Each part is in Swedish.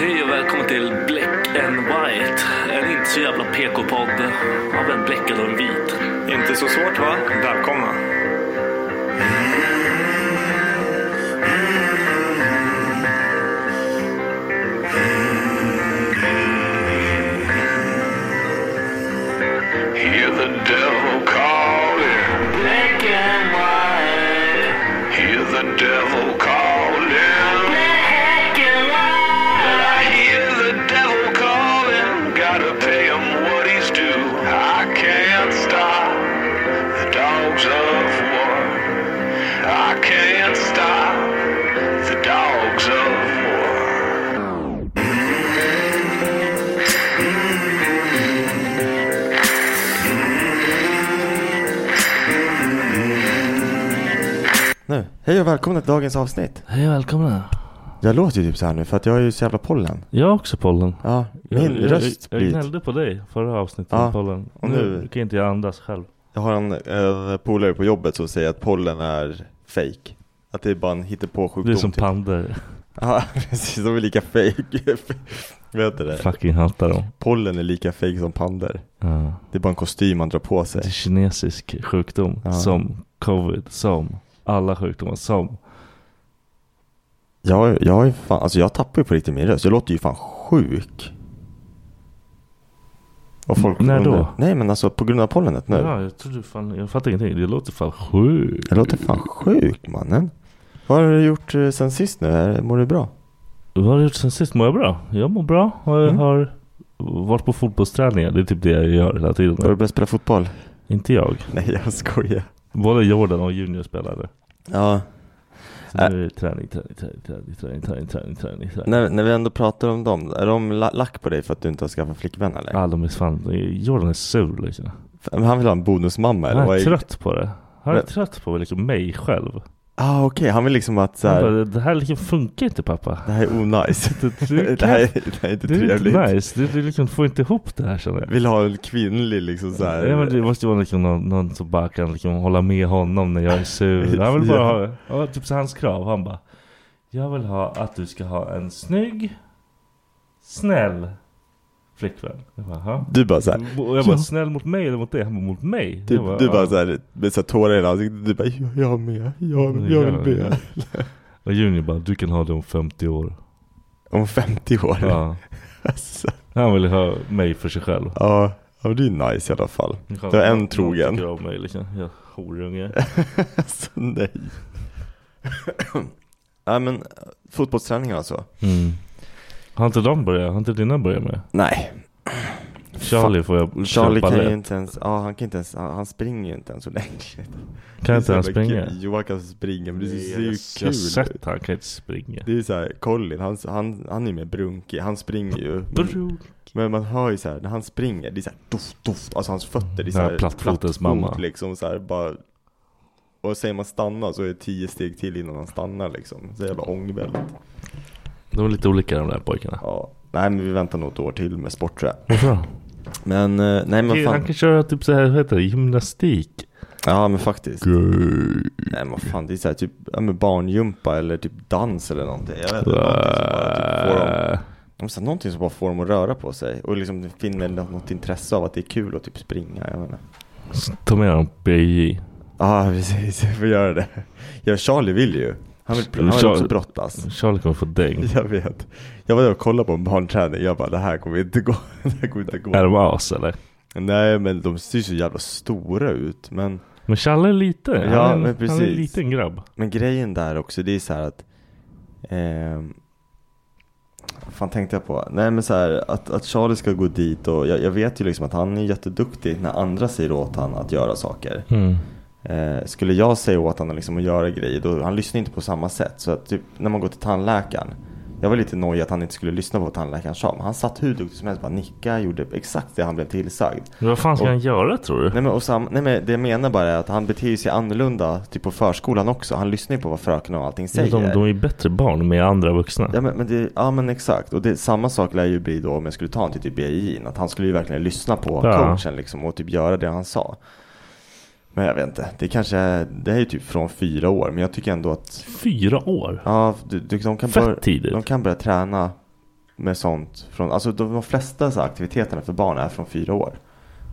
Hej och välkommen till Black and White. En inte så jävla PK-podd av en bläckad och en vit. Inte så svårt va? Välkomna. Hear the devil calling. Black and white. Hear the devil calling. Black and white. I hear the devil calling. Gotta pay him what he's due. I can't stop the dogs of war. I can't stop the dogs of war. Nu. Hej och välkomna till dagens avsnitt. Hej och välkomna. Jag låter ju typ så här nu för att jag är ju så jävla pollen. Jag har också pollen. Ja, min jag, röst jag, blir... jag Jag, gnällde på dig förra avsnittet Ja, om pollen. och nu, nu- kan inte jag andas själv. har en, en polare på jobbet som säger att pollen är fake. Att det är bara en Du hittepåsjukdom. är som typ. pandor. Ja, precis. De är lika fake. Vet du det? Fucking hatar dem. Pollen är lika fake som pander. Ja. Det är bara en kostym man drar på sig. Det är kinesisk sjukdom. Ja. Som covid. Som alla sjukdomar. Som. Jag, jag, är fan, alltså jag tappar ju på riktigt min röst. Jag låter ju fan sjuk. Och folk När då? Nej men alltså på grund av pollenet nu. Ja, jag trodde fan. Jag fattar ingenting. Det låter fan sjukt. Jag låter fan sjuk mannen. Vad har du gjort eh, sen sist nu? Är- Mår du bra? Vad har du gjort sen sist? Mår jag bra? Jag mår bra. Och jag Mm. har varit på fotbollsträningar. Det är typ det jag gör hela tiden. Har du börjat spela fotboll? Inte jag. Nej jag skojar. Både Jordan och Junior spelade. Ja, Så Äh. nu är det träning, träning, träning, träning, träning, träning, träning, träning, träning. när, när vi ändå pratar om dem. Är de la- lack på dig för att du inte har skaffat flickvän eller? Ja, de är fan, Jordan är sur liksom. F- Men han vill ha en bonusmamma eller? Han vad är trött på det. Han är Men- trött på liksom mig själv. Ah okej, han vill liksom att så Han här, bara, det här liksom funkar inte pappa. det här är onajs. Det, det, det, här, är- det här är inte det är trevligt. inte nice. Du, du liksom får inte ihop det här känner jag. Vill ha en kvinnlig liksom så här. Ja, men det måste ju vara liksom någon, någon som bara kan liksom hålla med honom när jag är sur. Han vill bara ha, ja, typ så hans krav. Han bara, jag vill ha att du ska ha en snygg, snäll flickvän. Jag bara, "Jaha." Du bara så här, Och jag bara, Ja. snäll mot mig eller mot dig? Han bara, mot mig? Du, Jag bara, du bara "Ja." såhär, med så här tårar i hela ansiktet, du bara jag, jag med, jag, jag vill med. Och Junior bara, du kan ha det om 50 år. Om 50 år. Ja. Ja. Alltså, Han vill ha mig för sig själv. ja, ja, det är nice i alla fall. Du har en trogen. Någon tycker om mig liksom. Jag horunge. Alltså nej. Nej men, fotbollsträning alltså? Mm. Har inte de börjat? Har inte dina börjat med? Nej. Charlie får jag Charlie köpa kan ju lätt. inte ens, ja han kan inte ens, han, han springer ju inte ens ordentligt. Kan inte han Det är så jävla springa? kul. Jo han kan springa men det ser Jag ju har kul ut. sett han kan inte springa. Det är såhär, Colin han, han, han är ju mer brunkig, han springer ju. Men, Bro. men man hör ju såhär, när han springer, det är såhär doft, doft, alltså hans fötter, det är Den här såhär plattfotens mamma. liksom såhär bara. Och säger man stanna så är det tio steg till innan han stannar liksom. Så jävla ångvält. De är lite olika de där pojkarna. Ja. Nej men vi väntar nog ett år till med sport tror jag. Varför då? Men eh, nej men Han fan. kan köra typ så här, vad heter det, gymnastik. Ja men faktiskt. Nej men vad fan det är såhär typ ja, men barngympa eller typ dans eller någonting. Jag vet inte. Någonting Äh, som bara, typ, får dem, Ja, men så här, någonting som bara får dem att röra på sig. Och liksom finner något något intresse av att det är kul att typ springa. Jag menar. Ta med honom på BJ. Ja ah, precis, jag får göra det. Ja Charlie vill ju. Han vill, han vill också Charlie- brottas. Charlie kommer få däng. Jag vet. Jag var där och kollade på en barnträning. Jag bara det här kommer inte gå. Det här kommer inte Är gå. de as eller? Nej men de ser ju så jävla stora ut. Men Men Challe är liten. Han Ja, är en- men Han är en precis. liten grabb. Men grejen där också, det är så här att... ehm, Vad fan tänkte jag på? Nej men så här, att, att Charlie ska gå dit och jag, jag vet ju liksom att han är jätteduktig när andra säger åt han att göra saker. Mm. Eh, skulle jag säga åt honom liksom att göra grejer, då, han lyssnar inte på samma sätt. Så att typ när man går till tandläkaren, jag var lite nojig att han inte skulle lyssna på vad tandläkaren sa. Men han satt hur duktig som helst, bara nickade, gjorde exakt det han blev tillsagd. Men vad fan ska Och- han göra tror du? Nej men, och sam, nej men det jag menar bara är att han beter sig annorlunda typ på förskolan också. Han lyssnar ju på vad fröken och allting säger. de, de är ju bättre barn med andra vuxna. Ja men, men det, ja men exakt, och det, samma sak lär ju bli då om jag skulle ta honom till typ BI, att han skulle ju verkligen lyssna på Ja. coachen liksom och typ göra det han sa. Men jag vet inte, det kanske är, det här är ju typ från fyra år, men jag tycker ändå att Fyra år? ja, du, du, de, kan Fett börja, tidigt. de kan börja träna med sånt från, alltså de, de flesta så här aktiviteterna för barn är från fyra år.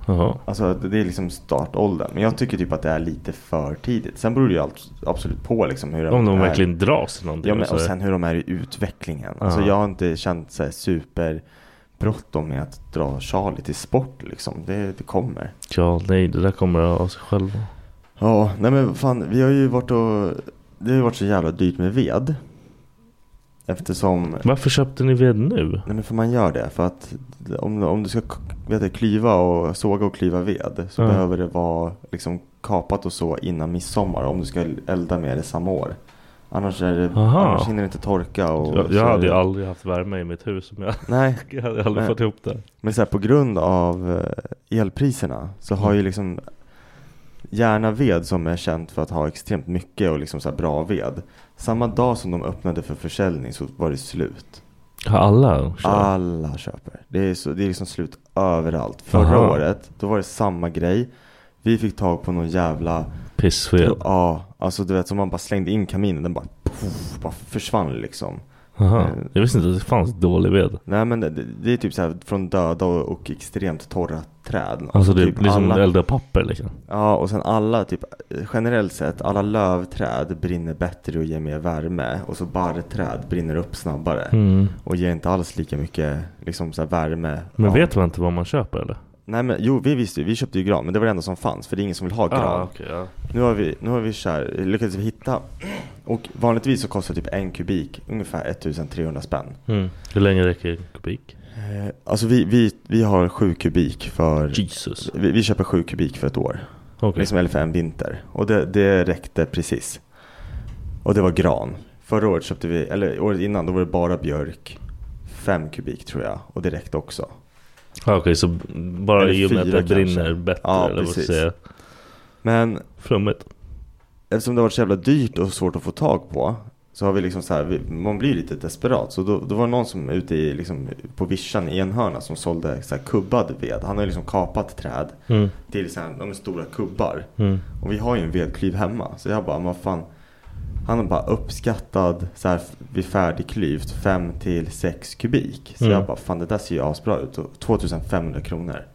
Jaha. Alltså det det är liksom startåldern, men jag tycker typ att det är lite för tidigt. Sen beror det ju allt, absolut på liksom hur Om de är- verkligen dras till någonting. Ja, men, så och här. sen hur de är i utvecklingen. Alltså, Ja. jag har inte känt så här, super bråttom med att dra Charlie till sport liksom. Det, det kommer. Ja, nej, det där kommer av sig själv. Ja, nej men fan, vi har ju varit och... Det har ju varit så jävla dyrt med ved. Eftersom... Varför köpte ni ved nu? Nej men för man gör det. För att om, om du ska k- vet du, klyva och såga och klyva ved så Ja. behöver det vara liksom kapat och så innan midsommar om du ska elda med det samma år. Annars, är det, Aha. annars hinner det inte torka och... Jag, så jag är hade ju det- aldrig haft värme i mitt hus om jag, Nej, jag hade aldrig Nej. fått ihop det. Men så här, på grund av eh, elpriserna så har ju liksom Järna ved som är känt för att ha extremt mycket och liksom så här bra ved. Samma dag som de öppnade för försäljning så var det slut. Har alla kört? Alla köper. Det är, så, det är liksom slut överallt. Förra Aha. året, då var det samma grej. Vi fick tag på någon jävla, Pissved? ja, alltså du vet som man bara slängde in kaminen, den bara, poff, bara försvann liksom. Aha. Eh. Jag visste inte att det fanns dålig ved. Nej men det, det är typ så här från döda och, och extremt torra träd. Alltså det, typ det är som alla- elda papper liksom. Ja, och sen alla, typ, generellt sett, alla lövträd brinner bättre och ger mer värme. Och så barrträd brinner upp snabbare. Mm. Och ger inte alls lika mycket liksom, så här, värme. Men Ja. vet man inte vad man köper eller? Nej men jo, vi visste ju. Vi köpte ju gran, men det var det enda som fanns. För det är ingen som vill ha gran. Ah, okej, ja. Nu har vi, nu har vi så här, lyckats hitta. Och vanligtvis så kostar typ en kubik ungefär 1300 spänn. mm. Hur länge räcker en kubik? Eh, Alltså vi, vi, vi har sju kubik för... Jesus. Vi, vi köper sju kubik för ett år. Okej. Liksom eller för en vinter. Och det, det räckte precis. Och det var gran. Förra året köpte vi, eller året innan, då var det bara björk. Fem kubik tror jag. Och det räckte också. Ja, Ah, Okej, så bara Eller i och med att fyra det brinner kanske. bättre Ja, eller vad ska jag precis. säga. Men Flummigt. eftersom det har varit så jävla dyrt och svårt att få tag på. Så har vi liksom så här, vi, man blir lite desperat. Så då, då var det någon som ute i, liksom, på vischan i Enhörna som sålde så här kubbad ved. Han har ju liksom kapat träd Mm. till så här, de är stora kubbar. Mm. Och vi har ju en vedklyv hemma. Så jag bara, men vad fan. Han har bara uppskattat så här vid färdigklyvt 5 till 6 kubik. Så Mm. jag bara, fan det där ser ju asbra ut. Och 2500 kronor.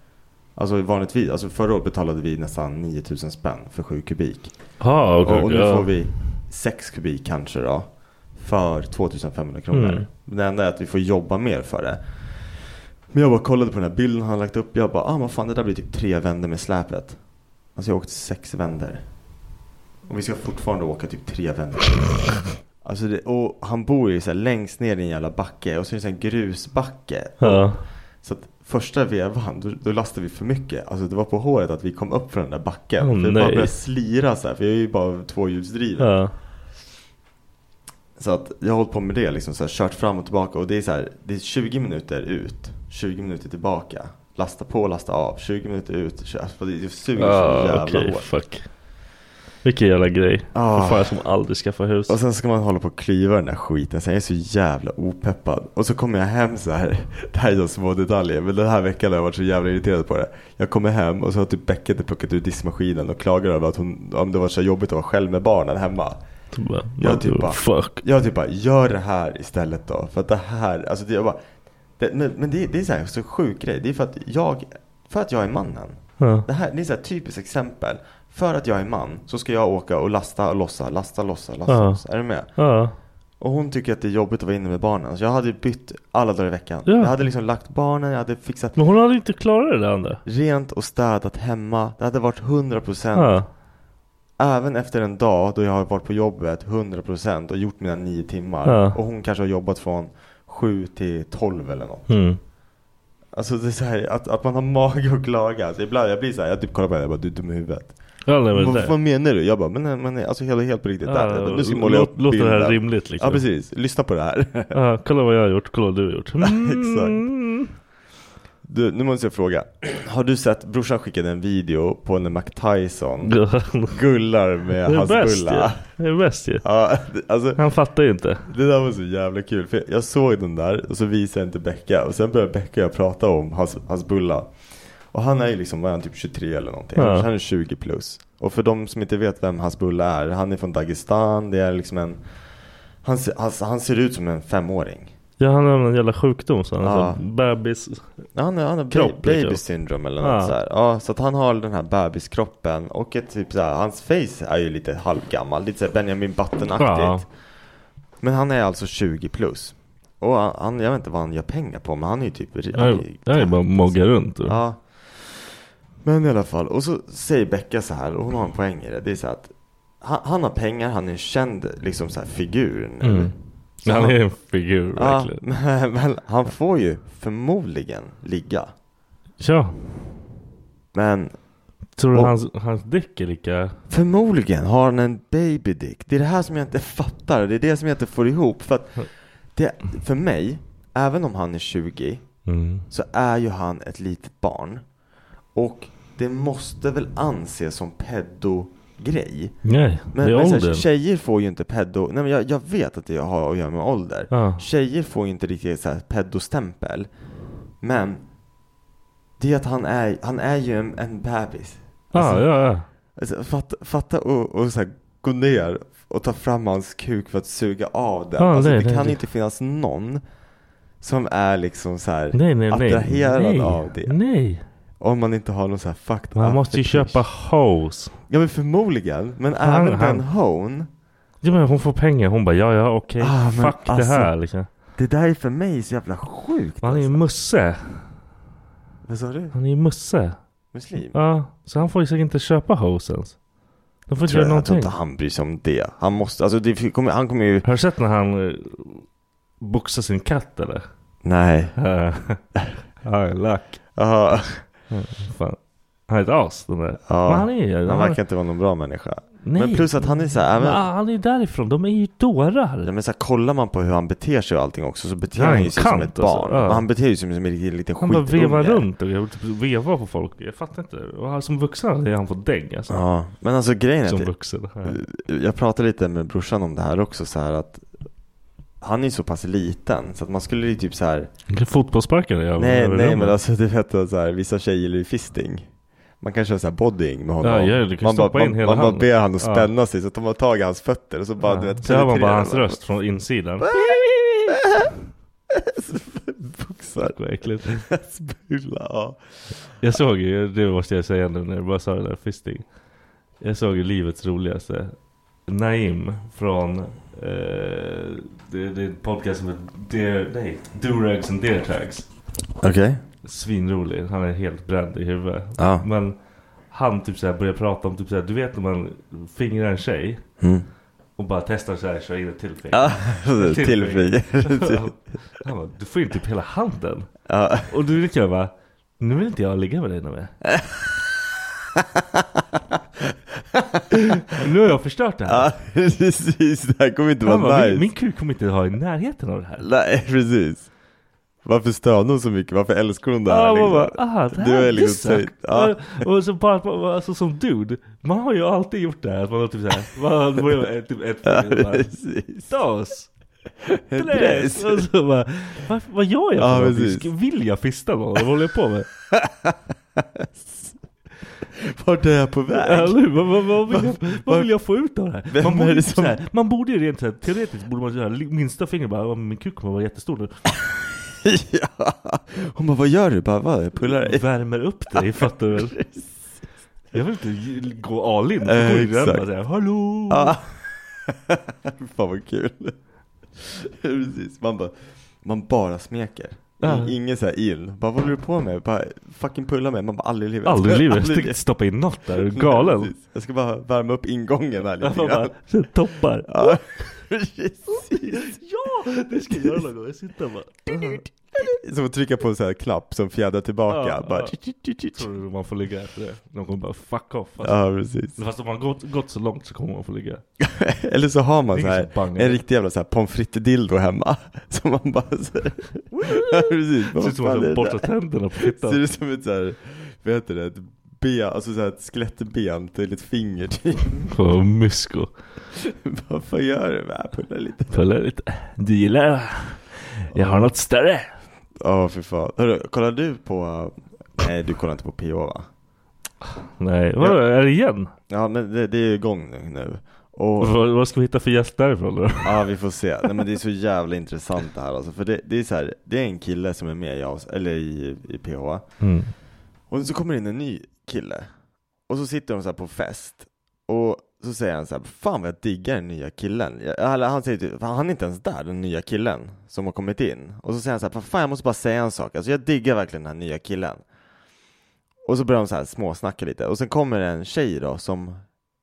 Alltså vanligtvis, alltså förra året betalade vi nästan 9000 spänn för 7 kubik. Ah, okej, och, och nu ja. får vi 6 kubik kanske då. För 2500 kronor. Mm. Det enda är att vi får jobba mer för det. Men jag bara kollade på den här bilden han lagt upp. Jag bara, ah men fan det där blir typ tre vänder med släpet. Alltså jag har åkt sex vänder. Och vi ska fortfarande åka typ tre vänder. Alltså det, och han bor ju så här längst ner i en jävla backe. Och så är det en sån här grusbacke. Ja. Så Så att första vevan, då, då lastade vi för mycket. Alltså det var på håret att vi kom upp från den där backen. Åh, för vi bara nej. började slira så här, för jag är ju bara tvåhjulsdriven. Ja. Så att jag har hållit på med det liksom, så här, kört fram och tillbaka och det är så här, det är 20 minuter ut, 20 minuter tillbaka. Lasta på, lasta av, 20 minuter ut, kör. För det det suger så Ah, jävla Okej, hårt. fuck. Vilken jävla grej. Ah. För fan som aldrig skaffar hus. Och sen ska man hålla på och klyva den där skiten, sen är jag så jävla opeppad. Och så kommer jag hem så här, det här är så små detaljer, men den här veckan har jag varit så jävla irriterad på det. Jag kommer hem och så har typ Becka inte plockat ur diskmaskinen och klagar över att hon, om det var så jobbigt att vara själv med barnen hemma. Då bara, Jag man typ bara, bara- fuck. Jag typ bara, gör det här istället då. För att det här, alltså det, jag bara, det, men, men det, det är så här så sjuk grej. Det är för att jag, för att jag är mannen. Ja. Det här det är så här typiskt exempel. För att jag är man så ska jag åka och lasta och lossa, lasta, lossa, lasta, Ja. lossa. Är du med? Ja. Och hon tycker att det är jobbigt att vara inne med barnen. Så jag hade ju bytt alla dagar i veckan. Ja. Jag hade liksom lagt barnen, jag hade fixat Men hon hade inte klarat det där andra. rent och städat hemma. Det hade varit 100 procent. Ja. Även efter en dag då jag har varit på jobbet 100% och gjort mina nio timmar Ja. och hon kanske har jobbat från 7 till 12 eller något. Mm. Alltså det är så här, att, att man har mage och klaga. Alltså ibland jag blir så här, jag typ kollar på henne och bara du är dum i huvudet. Jag har aldrig Vad, varit där. vad menar du? Jag bara men, nej, men alltså helt, helt på riktigt. där, Ja, nu ska jag måla låt- upp Låter det här bilden. rimligt liksom? Ja precis, lyssna på det här. Ja, kolla vad jag har gjort, kolla vad du har gjort. Mm, Exakt. Du, nu måste jag fråga. Har du sett, brorsan skickade en video på när Mac Tyson gullar med Det är hans bäst bulla. ju. Det är bäst ju. Ja, det- alltså Han fattar ju inte. Det där var så jävla kul, för jag såg den där och så visade jag den till Becka och sen började Becka och jag prata om hans, hans bulla. Och han är ju liksom, vad är han, typ 23 eller någonting. Ja. Han är 20 plus. Och för de som inte vet vem hans bulla är, han är från Dagestan, det är liksom en... Han, se- han, han ser ut som en femåring. Ja, han har en jävla sjukdom så han har Ja. sån bebis. Han har, han har Kropp, ba- baby liksom. syndrome eller Ja. något så här. Ja, så att han har den här bebiskroppen och ett typ så här, hans face är ju lite halvgammal, lite så här Benjamin Button-aktigt. Ja. Men han är alltså 20 plus. Och han- han, jag vet inte vad han gör pengar på, men han är ju typ ri- han är ju- Jag är bara mogga runt. Ja. Ja. Men i alla fall, och så säger Becka så här, och hon har en poäng i det. Det är så här att han, han har pengar, han är en känd liksom så här figur nu. Mm. Så Han är en figur ja, verkligen. men, men han får ju förmodligen ligga. Ja. Men Tror du Och- hans, hans däck är lika? Förmodligen har han en babydick. Det är det här som jag inte fattar. Det är det som jag inte får ihop. För att det, för mig, även om han är 20, Mm. så är ju han ett litet barn. Och det måste väl anses som peddo-grej. Nej, Men, det är men så här, Mm. åldern. tjejer får ju inte peddo... Nej men jag, jag vet att det har att göra med ålder. Ja. Tjejer får ju inte riktigt så här peddostämpel. Men det är att han är, han är ju en, en bebis. Ah, Ja, ja, ja. Alltså, fatta, fatta och, och så här, gå ner och ta fram hans kuk för att suga av den. Ja, alltså, nej, det nej, kan nej. inte finnas någon som är liksom så här Nej, nej, nej. attraherad nej. av det. Nej. Om man inte har någon så här fucked Man up måste ju fetish. köpa hose. Ja men förmodligen. Men Han- även han- den hon. Ja, men hon får pengar. Hon bara ja, ja, okej. Ah, men Fuck det alltså. här liksom. Det där är för mig så jävla sjukt. Han är ju musse. Vad sa du? Han är ju musse. Muslim? Ja, så han får ju säkert inte köpa hose ens. De får Jag inte tror, göra jag tror någonting. inte han bryr sig om det. Han måste, alltså det kommer, han kommer ju. Har du sett när han eh, boxar sin katt eller? Nej. Eh, Ja, lack. Aha. Fan. Han är ett as den där. Ja. Men han är ju... Han han- verkar inte vara någon bra människa. Nej. Men plus att han är så här, Men, även, ah, han är ju därifrån. De är ju Ja, dårar. men så här, kollar man på hur han beter sig och allting också så beter Han är han, en ju sig som kant ett alltså, barn. ja. Men Han beter ju sig som en riktig liten Han bara skitunge. vevar runt och jag typ vevar på folk. Jag fattar inte. Och han, som vuxen är han på däng alltså. Ja, Mm. men alltså grejen är som att vuxen. Ja. jag pratade lite med brorsan om det här också så här att han är ju så pass liten så att man skulle ju typ så här Fotbollssparkar jag Nej över nej rummet. men alltså du vet så här, vissa tjejer är ju fisting Man kan köra så här bodying med honom Ja, ja, du kan Man, stoppa bara, in man, hela man bara handen. ber han att Ja. spänna sig så tar man tag i hans fötter och så bara du ja. vet Så hör man bara penetrerar hans honom. röst från insidan. Boxar, Vad äckligt. spula, ja. Jag såg ju, det måste jag säga nu när du bara sa det där fisting. Jag såg ju livets roligaste. Naim från eh, det, det är en podcast som heter Dear, nej, Do-rags and Dear Tags. Okej, Svinrolig, han är helt bränd i huvudet. ja Men han typ såhär börjar prata om typ såhär, du vet när man fingrar en tjej. mm. Och bara testar så här, kör in ett till finger. Ja, Till till finger. finger. Han bara, du får in typ hela handen. Ja. Och du vill jag bara, nu vill inte jag ligga med dig nu mer. Nu har jag förstört det här. Ja, precis. Det här kommer inte Han vara bara, nice. min, min kuk kommer inte ha i närheten av det här. Nej, precis. Varför stönar hon så mycket? Varför älskar hon det här? Ja, man liksom? bara, aha, Ah, det Du här, är du liksom suck. så- ja. Och, och så bara, alltså som dude, man har ju alltid gjort det här, att man har typ såhär, man har börjat med typ ett Ja, finger och bara, precis. dos, tres, Dress. och så bara, vad, vad gör jag för Ja, någonting? precis. Ska- Vill jag fista någon? Vad håller jag på med? Vart är jag på väg? Eller hur? vad, vad, vad, vill jag, vad vill jag få ut av det här? Vem Man är borde, det ju som- såhär, man borde ju rent såhär, teoretiskt borde man göra minsta finger bara, "Ja, min kuk kommer vara jättestor nu. ja. Hon bara, vad gör du? Bara, vad? Jag pullar dig. Värmer upp dig, fattar du väl? Jag vill inte ge- gå all in, så går Eh, ju den exakt. bara såhär, hallå! Ja. Fan vad kul. Precis, man bara, man bara smeker. Ja. Ingen så här ill. Bara vad håller du på med? Bara fucking pulla mig. Man bara aldrig i livet. Aldrig i livet, jag tänkte stoppa in något där, är du galen. Precis. Jag ska bara värma upp ingången här Jag lite bara, grann. så toppar. Ja, precis. Ja! Det ska jag göra någon gång, jag sitter och bara. Som att trycka på en sån här knapp som fjädrar tillbaka. Ja, bara, ja. Tror du man får ligga efter det? De kommer bara fuck off. Alltså. ja precis. Fast om man gått, gått så långt så kommer man få ligga. Eller så har man Det är så ingen här, som bangar. en riktig jävla så här pommes frites-dildo hemma. Som man bara så här, ja, precis. Det Vad ser ut som att fan man är det borstar där? tänderna på Ser fittan. ut som ett så här, vad heter det, ett ben, alltså så här ett skelettben till ett finger typ. Åh, mysko. Vad fan gör du? Bara Pulla lite. Kolla lite. Du gillar det? Jag har något större. Ja, för fan. Hörru, kollar du på, nej du kollar inte på PH va? Nej, vadå? Är det igen? Ja men det, det är ju igång nu- nu. Och Vad, vad ska vi hitta för gäst därifrån då? Ja vi får se, nej men det är så jävla intressant det här alltså, för det, det är så här, det är en kille som är med i, avs- eller i, i PH Mm. Och så kommer det in en ny kille Och så sitter de så här på fest Och så säger han så här, fan vad jag diggar den nya killen Jag- eller Han säger typ, "Fan, han är inte ens där den nya killen som har kommit in Och så säger han så här, fan jag måste bara säga en sak, alltså jag diggar verkligen den här nya killen Och så börjar de så här småsnacka lite och sen kommer det en tjej då som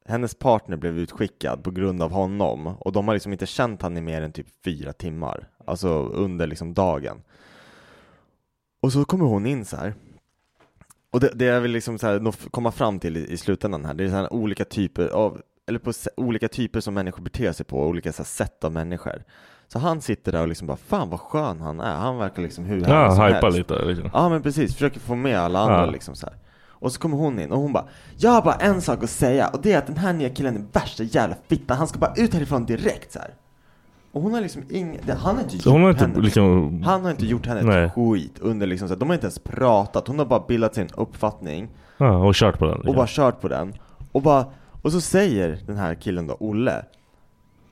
hennes partner blev utskickad på grund av honom och de har liksom inte känt han i mer än typ fyra timmar, alltså under liksom dagen. Och så kommer hon in så här. Och det, det jag vill liksom så här nå- komma fram till i, i slutändan här, det är så här olika typer av, eller på se- olika typer som människor beter sig på, olika så här sätt av människor. Så han sitter där och liksom bara, fan vad skön han är, han verkar liksom hur härlig Ja, som hajpa helst." lite. Liksom. Ja men precis, försöker få med alla andra Ja. liksom så här. Och så kommer hon in och hon bara Jag har bara en sak att säga och det är att den här nya killen är värsta jävla fittan, han ska bara ut härifrån direkt så här. Och hon har liksom ingen, det- han har inte Så hon har gjort inte henne liksom... Han har inte gjort henne Nej. ett skit under liksom så här, de har inte ens pratat, hon har bara bildat sin uppfattning Ja, och kört på den. och Liksom. bara kört på den och bara, och så säger den här killen då, Olle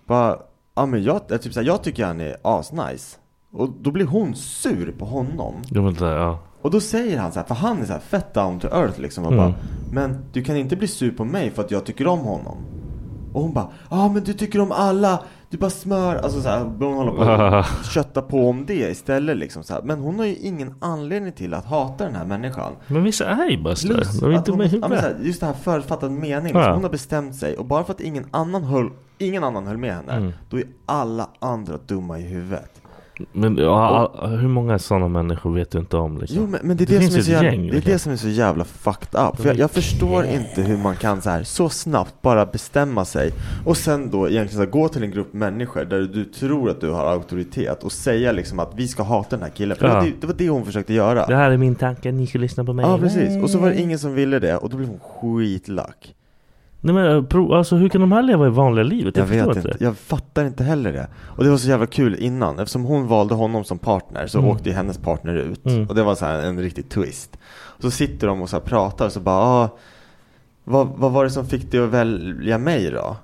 Bara, ja men jag, typ så här, jag tycker han är asnice Och då blir hon sur på honom Jag vet inte, ja. och då säger han så här, för han är så här fett down to earth liksom och Mm. bara Men du kan inte bli sur på mig för att jag tycker om honom Och hon bara, ja ah, men du tycker om alla, du bara smör Alltså så här, hon håller på att kötta på om det istället liksom så här. Men hon har ju ingen anledning till att hata den här människan Men vissa är ju bara sådär. Plus De är att inte hon, med i ja, men så huvudet. här, just det här förutfattad mening, Ja. liksom, hon har bestämt sig och bara för att ingen annan höll, ingen annan höll med henne Mm. Då är alla andra dumma i huvudet Men ja, hur många sådana människor vet du inte om liksom? Jo men, men det, är Det det, finns som är ett så jävla, gäng, det är liksom. det som är så jävla fucked up. För jag, jag förstår inte hur man kan så, här, så snabbt bara bestämma sig och sen då egentligen så här, gå till en grupp människor där du tror att du har auktoritet och säga liksom att vi ska hata den här killen. För det, Ja. var det, det var det hon försökte göra. Det här är min tanke, ni ska lyssna på mig. Ja precis, och så var det ingen som ville det och då blev hon skitlack. Nej men eh, pro, alltså hur kan de här leva i vanliga livet? Jag Jag, vet förstår inte, jag fattar inte heller det. Och det var så jävla kul innan, eftersom hon valde honom som partner Mm. så åkte ju hennes partner ut. Och det var så här en riktig twist. Och så sitter de och så här pratar och så bara, ah, vad, vad var det som fick dig att välja mig då?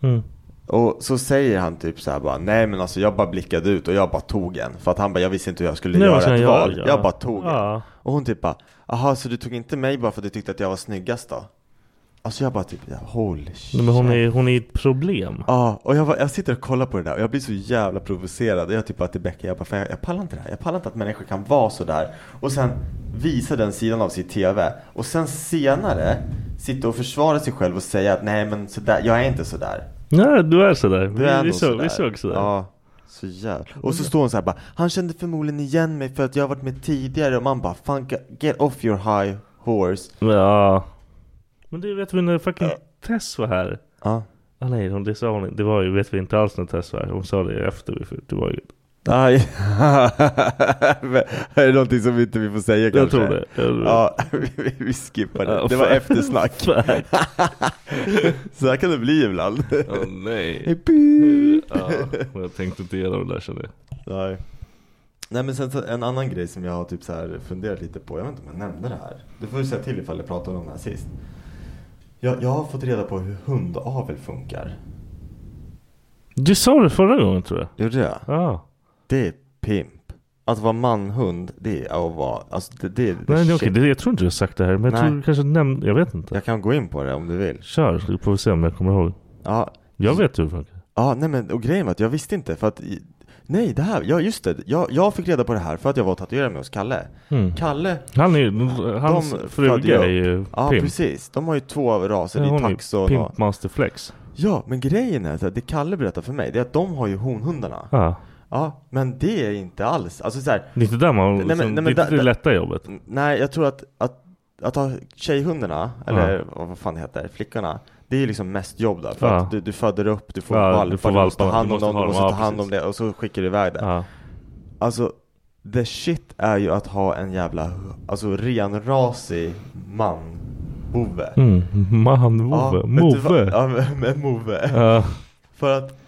Mm. Och så säger han typ så här bara, nej men alltså jag bara blickade ut och jag bara tog en. För att han bara, jag visste inte hur jag skulle Nej, vad ska göra jag göra? ett val. Ja. Jag bara tog en. Ja. Och hon typ bara, aha så du tog inte mig bara för att du tyckte att jag var snyggast då? Alltså jag bara typ, holy shit. Nej, men hon är, hon är ett problem. Ja, och jag, var, jag sitter och kollar på det där och jag blir så jävla provocerad. Jag typ bara till Becka, jag bara, fan, jag, jag pallar inte det här. Jag pallar inte att människor kan vara så där och sen visa den sidan av sitt TV och sen senare sitta och försvara sig själv och säga att nej men sådär, jag är inte sådär. Nej, du är sådär. Vi, Du är vi, nog såg, sådär. vi såg sådär. Ja, så jävla. Och så står hon så här bara, han kände förmodligen igen mig för att jag har varit med tidigare och man bara, fan get off your high horse. Ja. Men det vet vi när fucking Tess var här. Ja. Ah, nej, hon, det sa hon inte. Det var ju, vet vi inte alls när Tess var här. Hon sa det efter vi, för det var ju... Aj. Men är det någonting som inte vi får säga Jag kanske? tror det. Jag tror det. Ja, vi, vi skippar det. Ja, Det var fan. eftersnack. Fuck. Så här kan det bli ibland. Åh nej. Hej, beep. Ja, och jag tänkte inte igenom det där kände jag. Nej. Nej men sen så en annan grej som jag har typ så här funderat lite på. Jag vet inte om jag nämnde det här. Du får ju säga till ifall jag pratade om det här sist. Jag, jag har fått reda på hur hundavel funkar. Du sa det förra gången tror jag. Gjorde jag? Ja. Det är pimp. Att vara manhund, det är att vara... Alltså det, det, det Nej, shit. nej okej. Det, jag tror inte du har sagt det här. Men jag Nej. tror du kanske nämnde... Jag vet inte. Jag kan gå in på det om du vill. Kör, så får vi se om jag kommer ihåg. Ja, Jag vet hur det funkar. Ja, nej men och grejen var att jag visste inte för att i- Nej, det här, ja just det, jag, jag fick reda på det här för att jag var och tatuerade mig hos Kalle Mm. Kalle, Han är ju, hans födde ju fruga upp. är ju ja pimp. precis, de har ju två av raser, Ja, det hon är är ju taxon och... Pimp Master Flex. Ja, men grejen är att det Kalle berättar för mig, det är att de har ju honhundarna Ja. Ja, men det är inte alls, alltså så här, Det är inte där man... Nej, men- liksom, nej, men det är där- inte det där- lätta jobbet. n- nej jag tror att, att, att ha tjejhundarna, eller vad fan det heter, flickorna det är ju liksom mest jobb där, för Ja. att du, du föder upp, du får Ja, du valpar, du, får måste ta valpar, hand du om måste dem, ha du dem, måste ja, ta hand om precis. det och så skickar du iväg det Ja. Alltså, the shit är ju att ha en jävla, alltså renrasig man. Bove. Mm. Man, move, vet du vad- move. Ja, men- men move. Ja. För att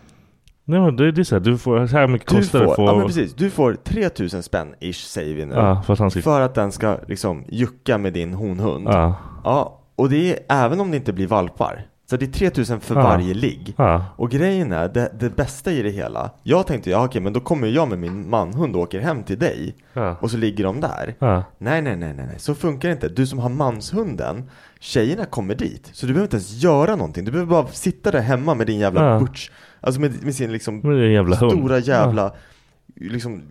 Nej men det, det är såhär, du får, så här mycket du kostar får, det för... ja men precis, du får 3000 spänn ish säger vi nu. Ja, för att han ska... För att den ska liksom jucka med din honhund. Ja. Ja, och det är även om det inte blir valpar. Så det är 3000 för Ja. varje ligg. Ja. Och grejen är, det, det bästa i det hela, jag tänkte ja okej men då kommer jag med min manhund och åker hem till dig. Ja. Och så ligger de där. Ja. Nej, nej, nej, nej, nej, så funkar det inte. Du som har manshunden, tjejerna kommer dit. Så du behöver inte ens göra någonting. Du behöver bara sitta där hemma med din jävla Ja. butch. Alltså med, med sin liksom Men det är en jävla hund. stora jävla, liksom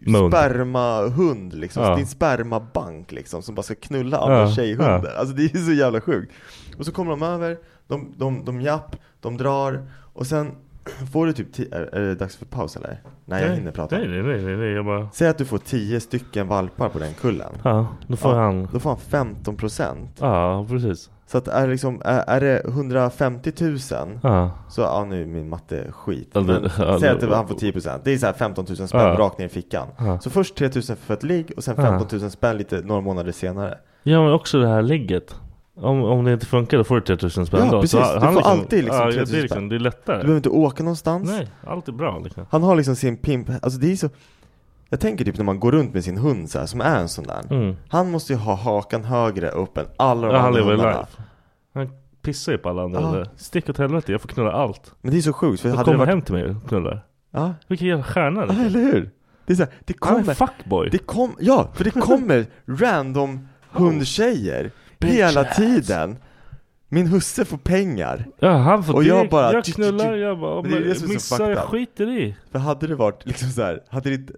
Mund. spermahund liksom. Ja. Din spermabank liksom som bara ska knulla alla Ja, tjejhundar. Alltså det är så jävla sjukt. Och så kommer de över, de, de, de japp, de drar och sen får du typ, ti- är, är det dags för paus eller? Nej, jag hinner prata. Nej nej nej, nej, nej jag bara... Säg att du får 10 stycken valpar på den kullen. Ja, då får Ja, han... Då får han 15 procent. Ja, precis. Så att är, liksom, är, är det 150 000 Ja. så, ja nu är min matte skit. Ja, Men, det- ja, säg att det- det- han får 10 procent. Det är så här 15 000 spänn Ja. rakt ner i fickan. Ja. Så först 3 000 för ett ligg och sen 15 000 spänn lite några månader senare. Ja men också det här ligget. Om, om det inte funkar då får du 3000 spänn Ja, då. precis. Du får alltid liksom ja, 3000 det, är spänn. liksom, det är Du lättare. behöver inte åka någonstans. Nej, allt är bra liksom. Han har liksom sin pimp, alltså det är så Jag tänker typ när man går runt med sin hund så här, som är en sån där Mm. Han måste ju ha hakan högre upp än alla de Ja, han andra lever hundarna life. Han pissar ju på alla andra. Ja. där. Stick åt helvete, jag får knulla allt. Men det är så sjukt för Du hade kommer det varit... hem till mig och knullar. Ja, Vilken jävla stjärna Ja, liksom. eller hur? Det är så här, det Han är kommer fuckboy. Det kom, ja, för det kommer random hundtjejer Oh, hela tiden. Min husse får pengar. Ja, han får Och jag direkt- bara- jag knullar, jag bara om Men det är det som är jag så missar, fucked jag up. skiter i. För hade det varit liksom så här, hade det inte,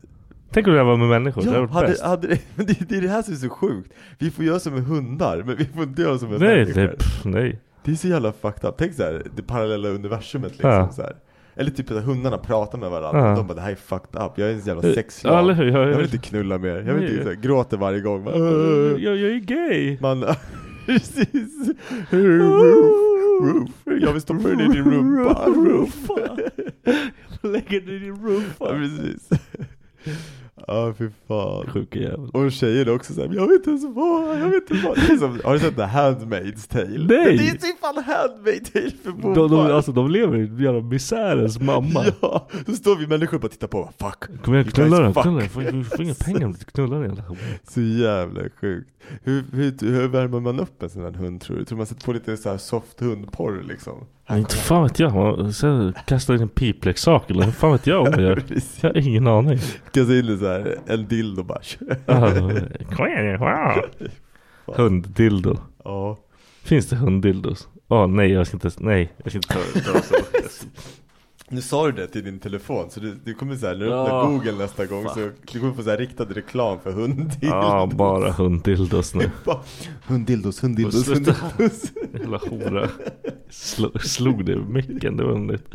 Tänk om det här var med människor, det ja, hade varit hade, bäst. hade det, men det, det är det här som är så sjukt. Vi får göra som med hundar, men vi får inte göra som med Nej, människor. det, pff, nej. Det är så jävla fucked up. Tänk så här, det parallella universumet liksom Ja. så här. Eller typ att hundarna pratar med varandra, Ja. Eh, de bara det här är fucked up, jag är en jävla Ja, sexslav. eller hur? Jag- jag, jag vill vet- inte knulla mer, jag vill Nej. inte, så här, gråter varje gång. Bara, Jag, jag är gay. Man, precis. Roof, roof. Jag vill stoppa den i din rumpa. Roof. Lägger dig i din Ja, rumpa. precis. Ja, fy fan. Sjuka jävel. Och tjejer är också såhär, jag vet inte ens vad, jag vet inte vad. Det är som, har du sett The Handmaid's Tale? Nej. Det är ju fan Handmaid's Tale för bovar. De, de, alltså de lever i en jävla misärens mamma. Ja, så står vi människor och bara tittar på, fuck. Kommer jag You guys knulla den? fuck. Knulla den? Får- Du får inga pengar om du knullar den jävla hunden. Så jävla sjukt. Hur, hur, hur värmer man upp en sån här hund tror du? Tror man sätter på lite så här soft hundporr liksom? Men Inte fan vet jag. Man- Sen kastar in en pipleksak eller hur fan vet jag om jag gör. Precis. Jag har ingen aning. Kastar in en så här, en dildo bara. Ah, Kom igen, wow. Hunddildo. Ja. Finns det hunddildos? Åh nej, jag ska inte, nej, jag ska inte ta det. Nu sa du det till din telefon, så du, du kommer såhär, när du Ja. öppnar google nästa gång så du kommer få såhär riktad reklam för hunddildos Ja, bara hunddildos nu. Bara, Hunddildos, hunddildos, Och sluta. hunddildos Jävla hora. Sl- slog det i micken, det var underligt.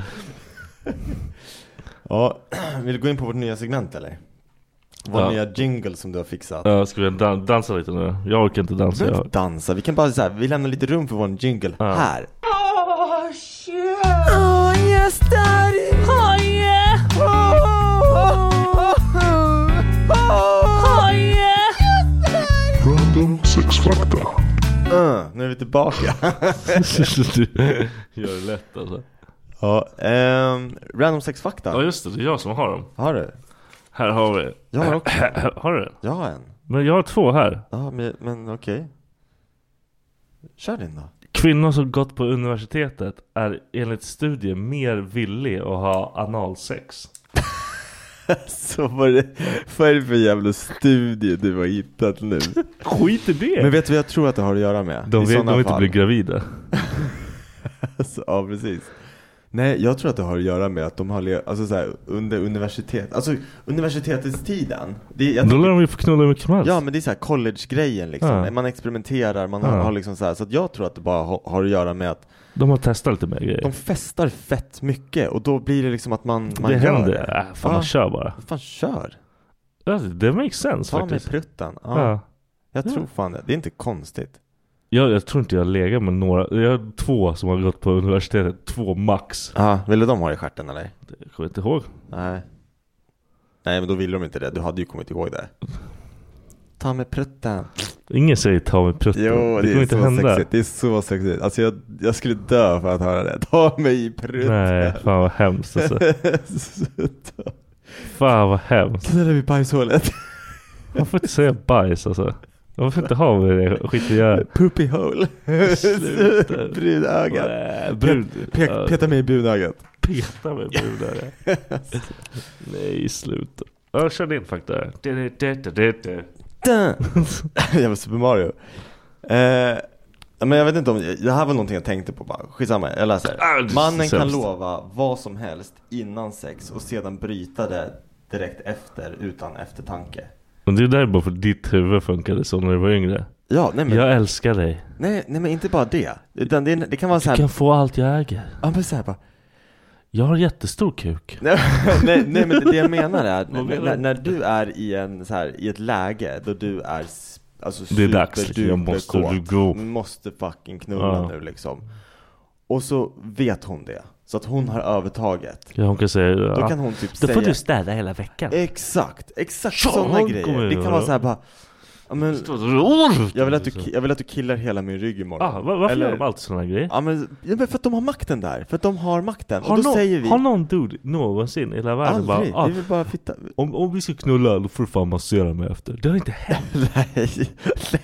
Ja, vill du gå in på vårt nya segment eller? Vår Ja. nya jingle som du har fixat Ja, ska vi dan- dansa lite nu? Jag orkar inte Vi dansa. behöver Jag. inte dansa, vi kan bara såhär, vi lämnar lite rum för vår jingle Ja. här Ah, Nu är vi tillbaka du gör det lätt alltså. Ja, ehm, random sexfakta Ja, just det. Det är jag som har dem. Har du? Här har vi. Jag har också Har du den? Jag har en Men jag har två här. Ja, men, men okej Kör din då Kvinnor som gått på universitetet är enligt studier mer villig att ha analsex. Så vad är, det, vad är det för jävla studie du har hittat nu? Skit i det! Men vet du vad jag tror att det har att göra med? de I vill, de sådana vill inte fall. bli gravida. Alltså, ja, precis. Nej, jag tror att det har att göra med att de har le- alltså, så här, under universitet, alltså universitetets tiden. Det, är- jag, Då lär de ju få knulla hur mycket som helst. ja, men det är så här college-grejen liksom. Ja. Man experimenterar, man har, Ja. har liksom så här. Så att jag tror att det bara har, har att göra med att De har testat lite mer grejer. de festar fett mycket och då blir det liksom att man, man det gör händer. det. Äh, fan, Ja. man kör bara. Fan, kör! Alltså, det makes sense Ta med faktiskt. pruttan. Ja, Ja. Jag Ja. tror fan det. Det är inte konstigt. Jag, jag tror inte jag har legat med några. Jag har två som har gått på universitetet. Två max. Ja, ville de ha det i stjärten eller? Jag kommer inte ihåg. Nej. Nej, men då ville de inte det. Du hade ju kommit ihåg det. Ta med pruttan. Ingen säger ta med prutten. Jo, det, kommer är inte så hända. sexigt. Det är så sexigt. Alltså jag, jag skulle dö för att höra det. Ta mig i prutten. Nej, fan vad hemskt alltså. Sluta. Fan vad hemskt. Knulla vid bajshålet. Man får inte säga bajs alltså. Man får inte ha med det skit i göra. Poopy hole. Sluta. Brudögat. Nej, brud. Pe- peta mig i brudögat. Peta med brudar. Nej, sluta. Ja, kör din fakta. Dun. Jävla Super Mario. Eh, men jag vet inte om, det här var någonting jag tänkte på bara. Skitsamma, jag Ah, det läser. är Mannen kan sämst. lova vad som helst innan sex och sedan bryta det direkt efter utan eftertanke. Men det är där bara för ditt huvud funkade så när du var yngre. Ja, nej men, Jag älskar dig. nej, nej, men inte bara det. Utan det, det kan vara så Du här, kan få allt jag äger. ja men så här bara. Jag har jättestor kuk. Nej, nej, nej men det jag menar är, Vad menar du? när, när du är i, en, så här, i ett läge då du är s- alltså, Det är dags, super, jag duper måste kåt. gå. måste fucking knulla Ja. nu liksom. Och så vet hon det, så att hon har övertaget. Ja, hon kan säga... Då ja, kan hon typ då säga får du städa hela veckan. Exakt, exakt Ja, sådana hon grejer. kommer Det göra kan vara det. så här bara, ja, men, jag, vill att du, ki- jag vill att du killar hela min rygg imorgon. Ah, va- varför Eller- gör de alltid sådana grejer? Ja men, ja men för att de har makten där, för att de har makten. Har, och då någon, säger vi, har någon dude någonsin i hela världen aldrig, bara ah, vi vill bara fitta. om, om vi ska knulla då får du fan massera mig efter. Det har inte hänt. Nej,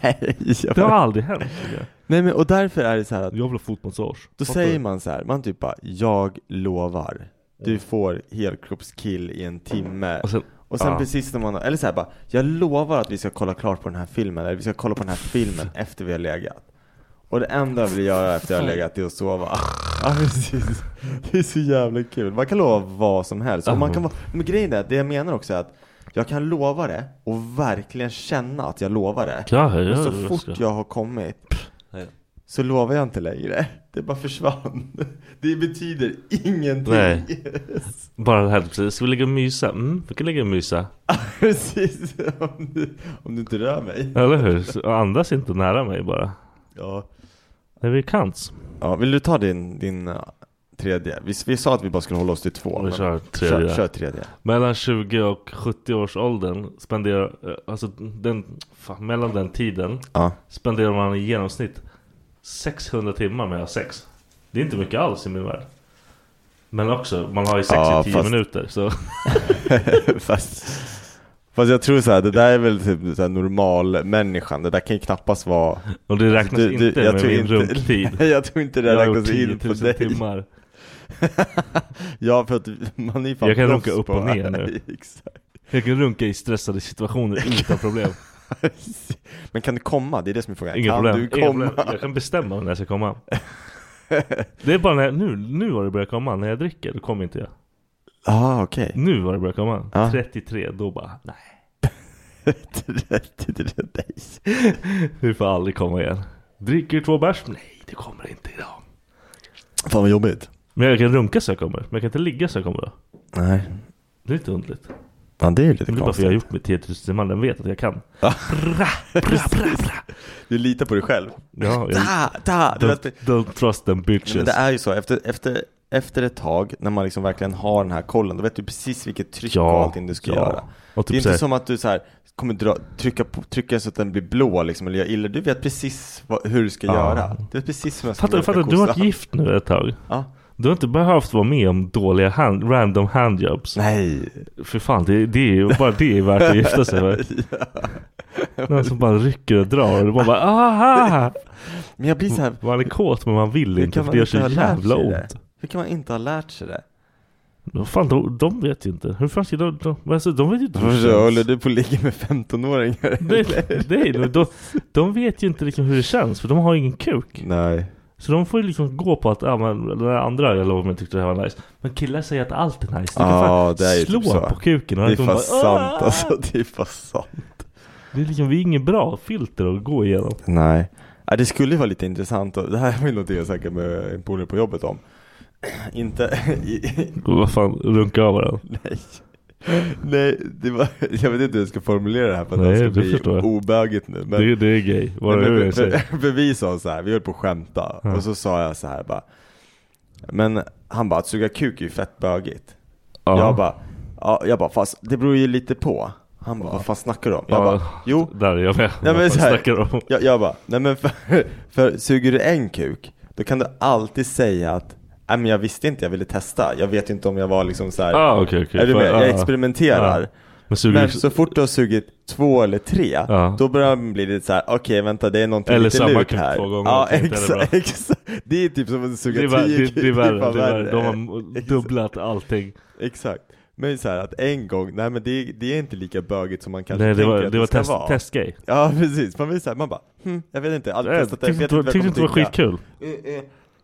nej. jag Det har bara- aldrig hänt. tycker jag. Nej men och därför är det så här att Jag vill ha fotmassage. då Fattar säger du? man så här, man typ bara jag lovar. Du får helkroppskill i en timme. Och sen, Och sen Ja. precis när man, eller så här bara, jag lovar att vi ska kolla klart på den här filmen, eller vi ska kolla på den här filmen efter vi har legat. Och det enda jag vill göra efter jag har legat är att sova. Ja precis. Det är så jävla kul. Man kan lova vad som helst. Och man kan vara, men grejen är, att det jag menar också är att jag kan lova det och verkligen känna att jag lovar det. ja, ja, Och så ja, fort ska- jag har kommit så lovar jag inte längre. Det bara försvann. Det betyder ingenting. Nej. Bara det här precis. Ska vi ligga och mysa? Mm, vi kan ligga och mysa. Precis. Om du, om du inte rör mig. Eller hur? Så Andas inte nära mig bara. Ja. När vi kants. ja vill du ta din, din eh, tredje? Vi, vi sa att vi bara skulle hålla oss till två. Vi men- kör kör, tredje. kör tredje. Mellan 20 och 70 års åldern spenderar, eh, alltså den, fan, mellan den tiden Ja. spenderar man i genomsnitt 600 timmar med att ha sex. Det är inte mycket alls i min värld. Men också, man har ju sex Ja, i 10 fast- minuter. Så fast, fast jag tror så här, det där är väl typ så här normal människan. Det där kan ju knappast vara... Alltså, och det räknas Du- du- inte jag med tror min inte- rumptid. Jag tror inte det Jag har gjort räknas 10 in 000 på dig. timmar. Ja, för att man är ju fan Jag kan proffs runka upp på- och ner nu. Exakt. Jag kan runka i stressade situationer utan problem. Men kan du komma? Det är det som är frågan. Inga kan problem. du komma? Inga problem. Jag kan bestämma när jag ska komma. Det är bara när jag, nu, nu har det börjat komma. När jag dricker, då kommer inte jag. ah, okej. Nu har det börjat komma. Ja. 33, då bara nej. Okay. Det får aldrig komma igen. Dricker två bärs? Nej, det kommer inte idag. Fan vad jobbigt. Men jag kan runka så jag kommer. Men jag kan inte ligga så jag kommer. då. Nej. Det är lite underligt. Ja, det är ju lite Men det är bara för att jag konstigt. har gjort mitt 10 000 timmar. Den vet att jag kan. Du litar på dig själv. Ja, jag, Da, da, du vet, don't, don't trust them Men bitches. det är ju så, efter, efter, efter ett tag när man liksom verkligen har den här kollen, då vet du precis vilket tryck och allting du ska göra. Och det är typ inte såhär, som att du så här, kommer dra, trycka, på, trycka så att den blir blå liksom, eller gör illa. Du vet precis vad, hur du ska Ja. göra. Du vet precis hur jag ska fatta, mjölka fatta du har varit kossan. gift nu ett tag. Ja. Du har inte behövt vara med om dåliga hand, random handjobs. Nej. För fan, det, det är ju bara det är värt att gifta sig med. Någon som bara rycker och drar och man bara aha! Men jag blir så här, Man är kåt men man vill Hur inte kan för man det gör inte så ha lärt jävla sig ont. hur kan man inte ha lärt sig det? Men Fan, de, de vet ju inte. Hur fan ska de... De, alltså, de vet ju inte hur Varför det håller känns. du på att ligga med 15-åringar? Nej, nej, men de, de vet ju inte liksom hur det känns för de har ingen kuk. Nej. Så de får ju liksom gå på att, ja men den där andra jag lovade mig tyckte det här var nice. Men killar säger att allt är nice. Du kan Ja, fan det är ju slå typ så. på kuken och Det är de fan sant "Ah!" alltså, det är fan sant. Det är liksom, vi är inget bra filter att gå igenom. Nej. Ja, det skulle ju vara lite intressant. och- Det här var ju någonting jag snackade med en polare på jobbet om. Inte... i- i- Och Vad fan, runka av varandra. Nej. Nej, det var, jag vet inte hur jag ska formulera det här för att Nej, det det ska bli förstår jag. obögigt nu. Men, Det, det är gay, vad Nej, det men, nu än säger. för, för vi sa så här, vi höll på att skämta. Ja. Och så sa jag så här bara. Men han bara, att suga kuk är ju fett bögigt. Jag bara, ja, jag bara, fast det beror ju lite på. Han bara, vad fan snackar du om? Jag Ja. bara, jo, Där är jag med. men Vad fan så här- snackar du om? Jag, jag bara, nej men för, för suger du en kuk, då kan du alltid säga att nej men jag visste inte, jag ville testa. Jag vet inte om jag var liksom så här. Ah, okej, okej. är du För- med? ah, Jag experimenterar. ah. Men suger Men du... så fort du har sugit två eller tre, Ja. då börjar man bli lite så här: okej vänta det är någonting Eller lite samma lurt kuk här. två gånger, ja, det är inte exakt, bra. exakt. Det är typ som att Det är, suga värre, tio det, kuk. det är värre, fan det är värre. värre. De har dubblat allting. Exakt. Men så här att en gång, nej men det, det är inte lika bögigt som man kanske Nej det tänker var, att det det var ska test, vara. testgay. Ja precis, man blir såhär, man bara hm, jag vet inte, jag har aldrig Äh, testat det, jag Tyckte vet inte inte vad tyckte jag inte det var kommer tycka. skitkul. Eh, eh,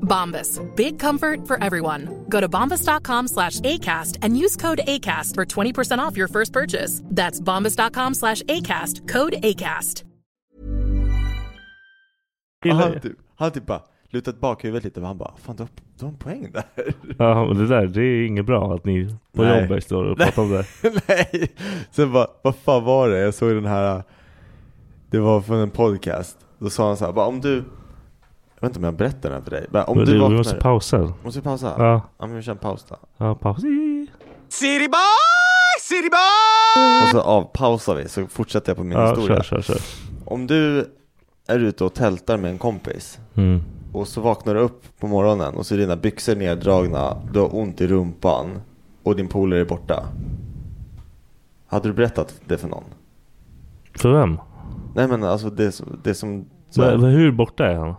Bombas. Big comfort for everyone. Go to bombas.com slash ACAST and use code ACAST for 20% off your first purchase. That's bombas.com slash ACAST. Code ACAST. Ja, Gillar Han det. typ, han typ bara lutat bak huvudet lite och han bara, fan du har, du har en poäng där. Ja, men det där, det är inget bra att ni på Nej. jobbet står och pratar om det. Nej. Sen bara, vad fan var det? Jag såg den här, det var från en podcast. Då sa han så här, bara om du, jag vet inte om jag berättar den här för dig. Men om Men du du, vaknar, vi måste pausa. måste vi pausa? Ja. Ja, men vi kör en paus då. ja paus. City boy! City boy! Och så avpausar vi, så fortsätter jag på min Ja, historia. kör, kör, kör. Om du är ute och tältar med en kompis Mm. och så vaknar du upp på morgonen och så är dina byxor neddragna, du har ont i rumpan och din polare är borta. Hade du berättat det för någon? För vem? Nej men alltså det som... Det som så, Men, men hur borta är han?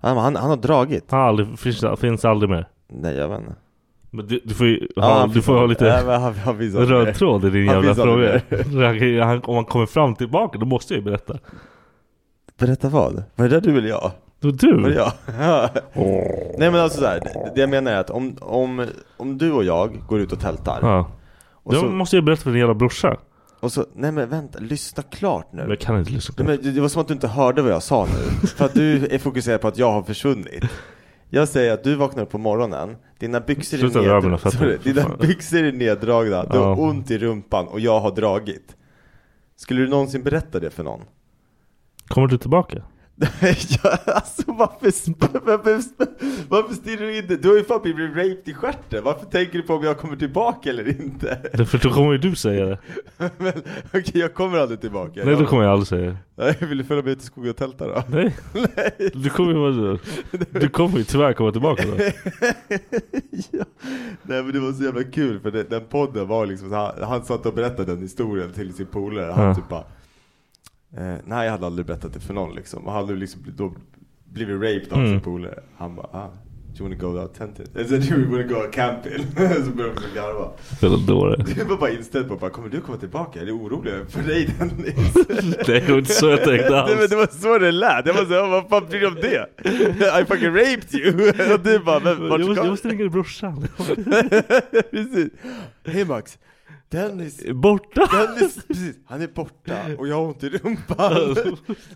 han, han, han har dragit. Han har aldrig, finns, finns aldrig mer. Nej jag vet inte. Men du, du får ju Ja, ha, han du finns får ha aldrig- Nej, lite men han, han finns aldrig röd mer. tråd i din Han jävla finns aldrig fråga. Han- han- Om han kommer fram tillbaka då måste jag ju berätta. Berätta vad? Var det där du eller jag? Det var Var det du? jag? Nej men alltså såhär, det, det jag menar är att om, om, om du och jag går ut och tältar Ja. och, Då så, måste jag berätta för din jävla brorsa. och så, nej men vänta, lyssna klart nu. Men jag kan inte lyssna. Nej, men det var som att du inte hörde vad jag sa nu. För att du är fokuserad på att jag har försvunnit. Jag säger att du vaknar upp på morgonen, dina byxor, Sluta är, röra mina ned... fötter. Sorry, För dina fan. byxor är neddragna, du har Ja. ont i rumpan och jag har dragit. Skulle du någonsin berätta det för någon? Kommer du tillbaka? Ja, alltså varför, sp- varför, sp- varför stirrar du in det? Du har ju fan blivit raped i stjärten. Varför tänker du på om jag kommer tillbaka eller inte? För då kommer ju du säga det. Men, Okej, jag kommer aldrig tillbaka. Nej, då kommer jag aldrig säga det. Nej, vill du följa med ut i skogen och tälta då? Nej. Du kommer ju vara Du kommer ju tyvärr komma tillbaka då. ja. Nej men det var så jävla kul för det, den podden var liksom, så han, han satt och berättade den historien till sin polare. Han Ja. typ bara, eh, nej jag hade aldrig berättat det för någon liksom. Och han hade liksom bl- då blivit raped av Mm. sin polare. Han bara, ah, do you wanna go out tenting? Alltså, do you wanna go out camping? så började de garva. Jävla dåre. Du var bara inställd på att bara, kommer du komma tillbaka? Är du orolig för dig Dennis? Nej, det var inte så jag tänkte alls. Nej, men det var så det lät. Jag var så, vad fan bryr du om det? I fucking raped you! och du bara, men vart Jag måste, ska jag måste ringa brorsan. Precis. Hej Max, Dennis, Borta! Dennis precis, han är borta och jag har ont i rumpan.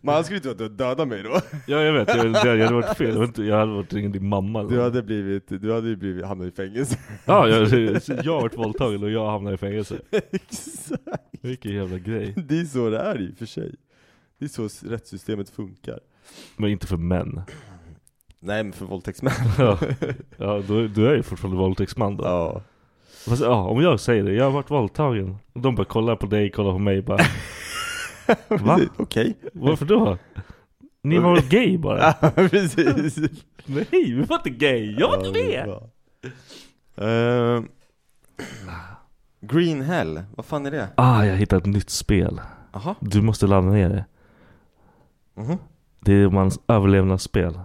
Men han skulle inte ha dö- dödat mig då. Ja, jag vet. Jag, det hade varit fel. Jag hade inte- Jag hade varit ringa din mamma. Du hade blivit, du hade ju blivit, hamnat i fängelse. Ja, jag, jag har varit våldtagen och jag hamnar i fängelse. Exakt. Vilken jävla grej. Det är så det är i och för sig. Det är så s- rättssystemet funkar. Men inte för män. Nej men för våldtäktsmän. Ja, ja då, då är jag ju fortfarande våldtäktsman då. Ja. Fast, ja, om jag säger det, jag har varit våldtagen. Och de bara kollar på dig, kollar på mig bara. Va? Precis, Okej. Varför då? Ni var väl gay bara? Ja, precis. Nej, vi var inte gay! Jag var inte med! Uh, Green Hell, vad fan är det? Ah, jag hittade ett nytt spel. Aha. Du måste ladda ner det. Mhm. Det är mans överlevnadsspel.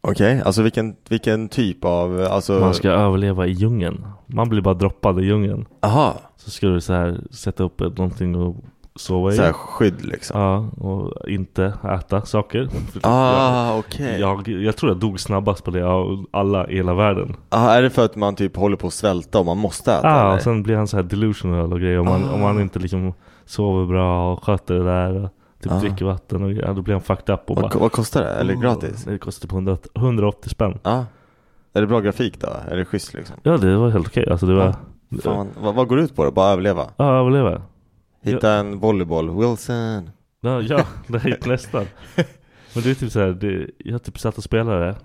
Okej, alltså vilken, vilken typ av, alltså Man ska överleva i djungeln. Man blir bara droppad i djungeln. Aha. Så ska du så här sätta upp ett- någonting och sova i. Så här skydd liksom Ja, och inte äta saker. Ah okej Jag, jag tror jag dog snabbast på det av alla i hela världen. ah, Är det för att man typ håller på att svälta och man måste äta Ja, eller? och sen blir han Ah, så här delusional och grejer. Om man, om Ah. man inte liksom sover bra och sköter det där. Och typ Ah. dricker vatten och grejer. Då blir han fucked up och vad, bara. vad kostar det? Eller "Åh, gratis? Ah. Det kostar typ 100, 180 spänn. Ja Är det bra grafik då? Är det schysst liksom? Ja, det var helt okej. Alltså det var. Ja, Ah. Fan, vad, vad går det ut på då? Bara överleva? överleva. Hitta en volleyboll, Wilson Ja, ja nej, nästan. Men det är typ så här, det, jag typ satt och spelade det.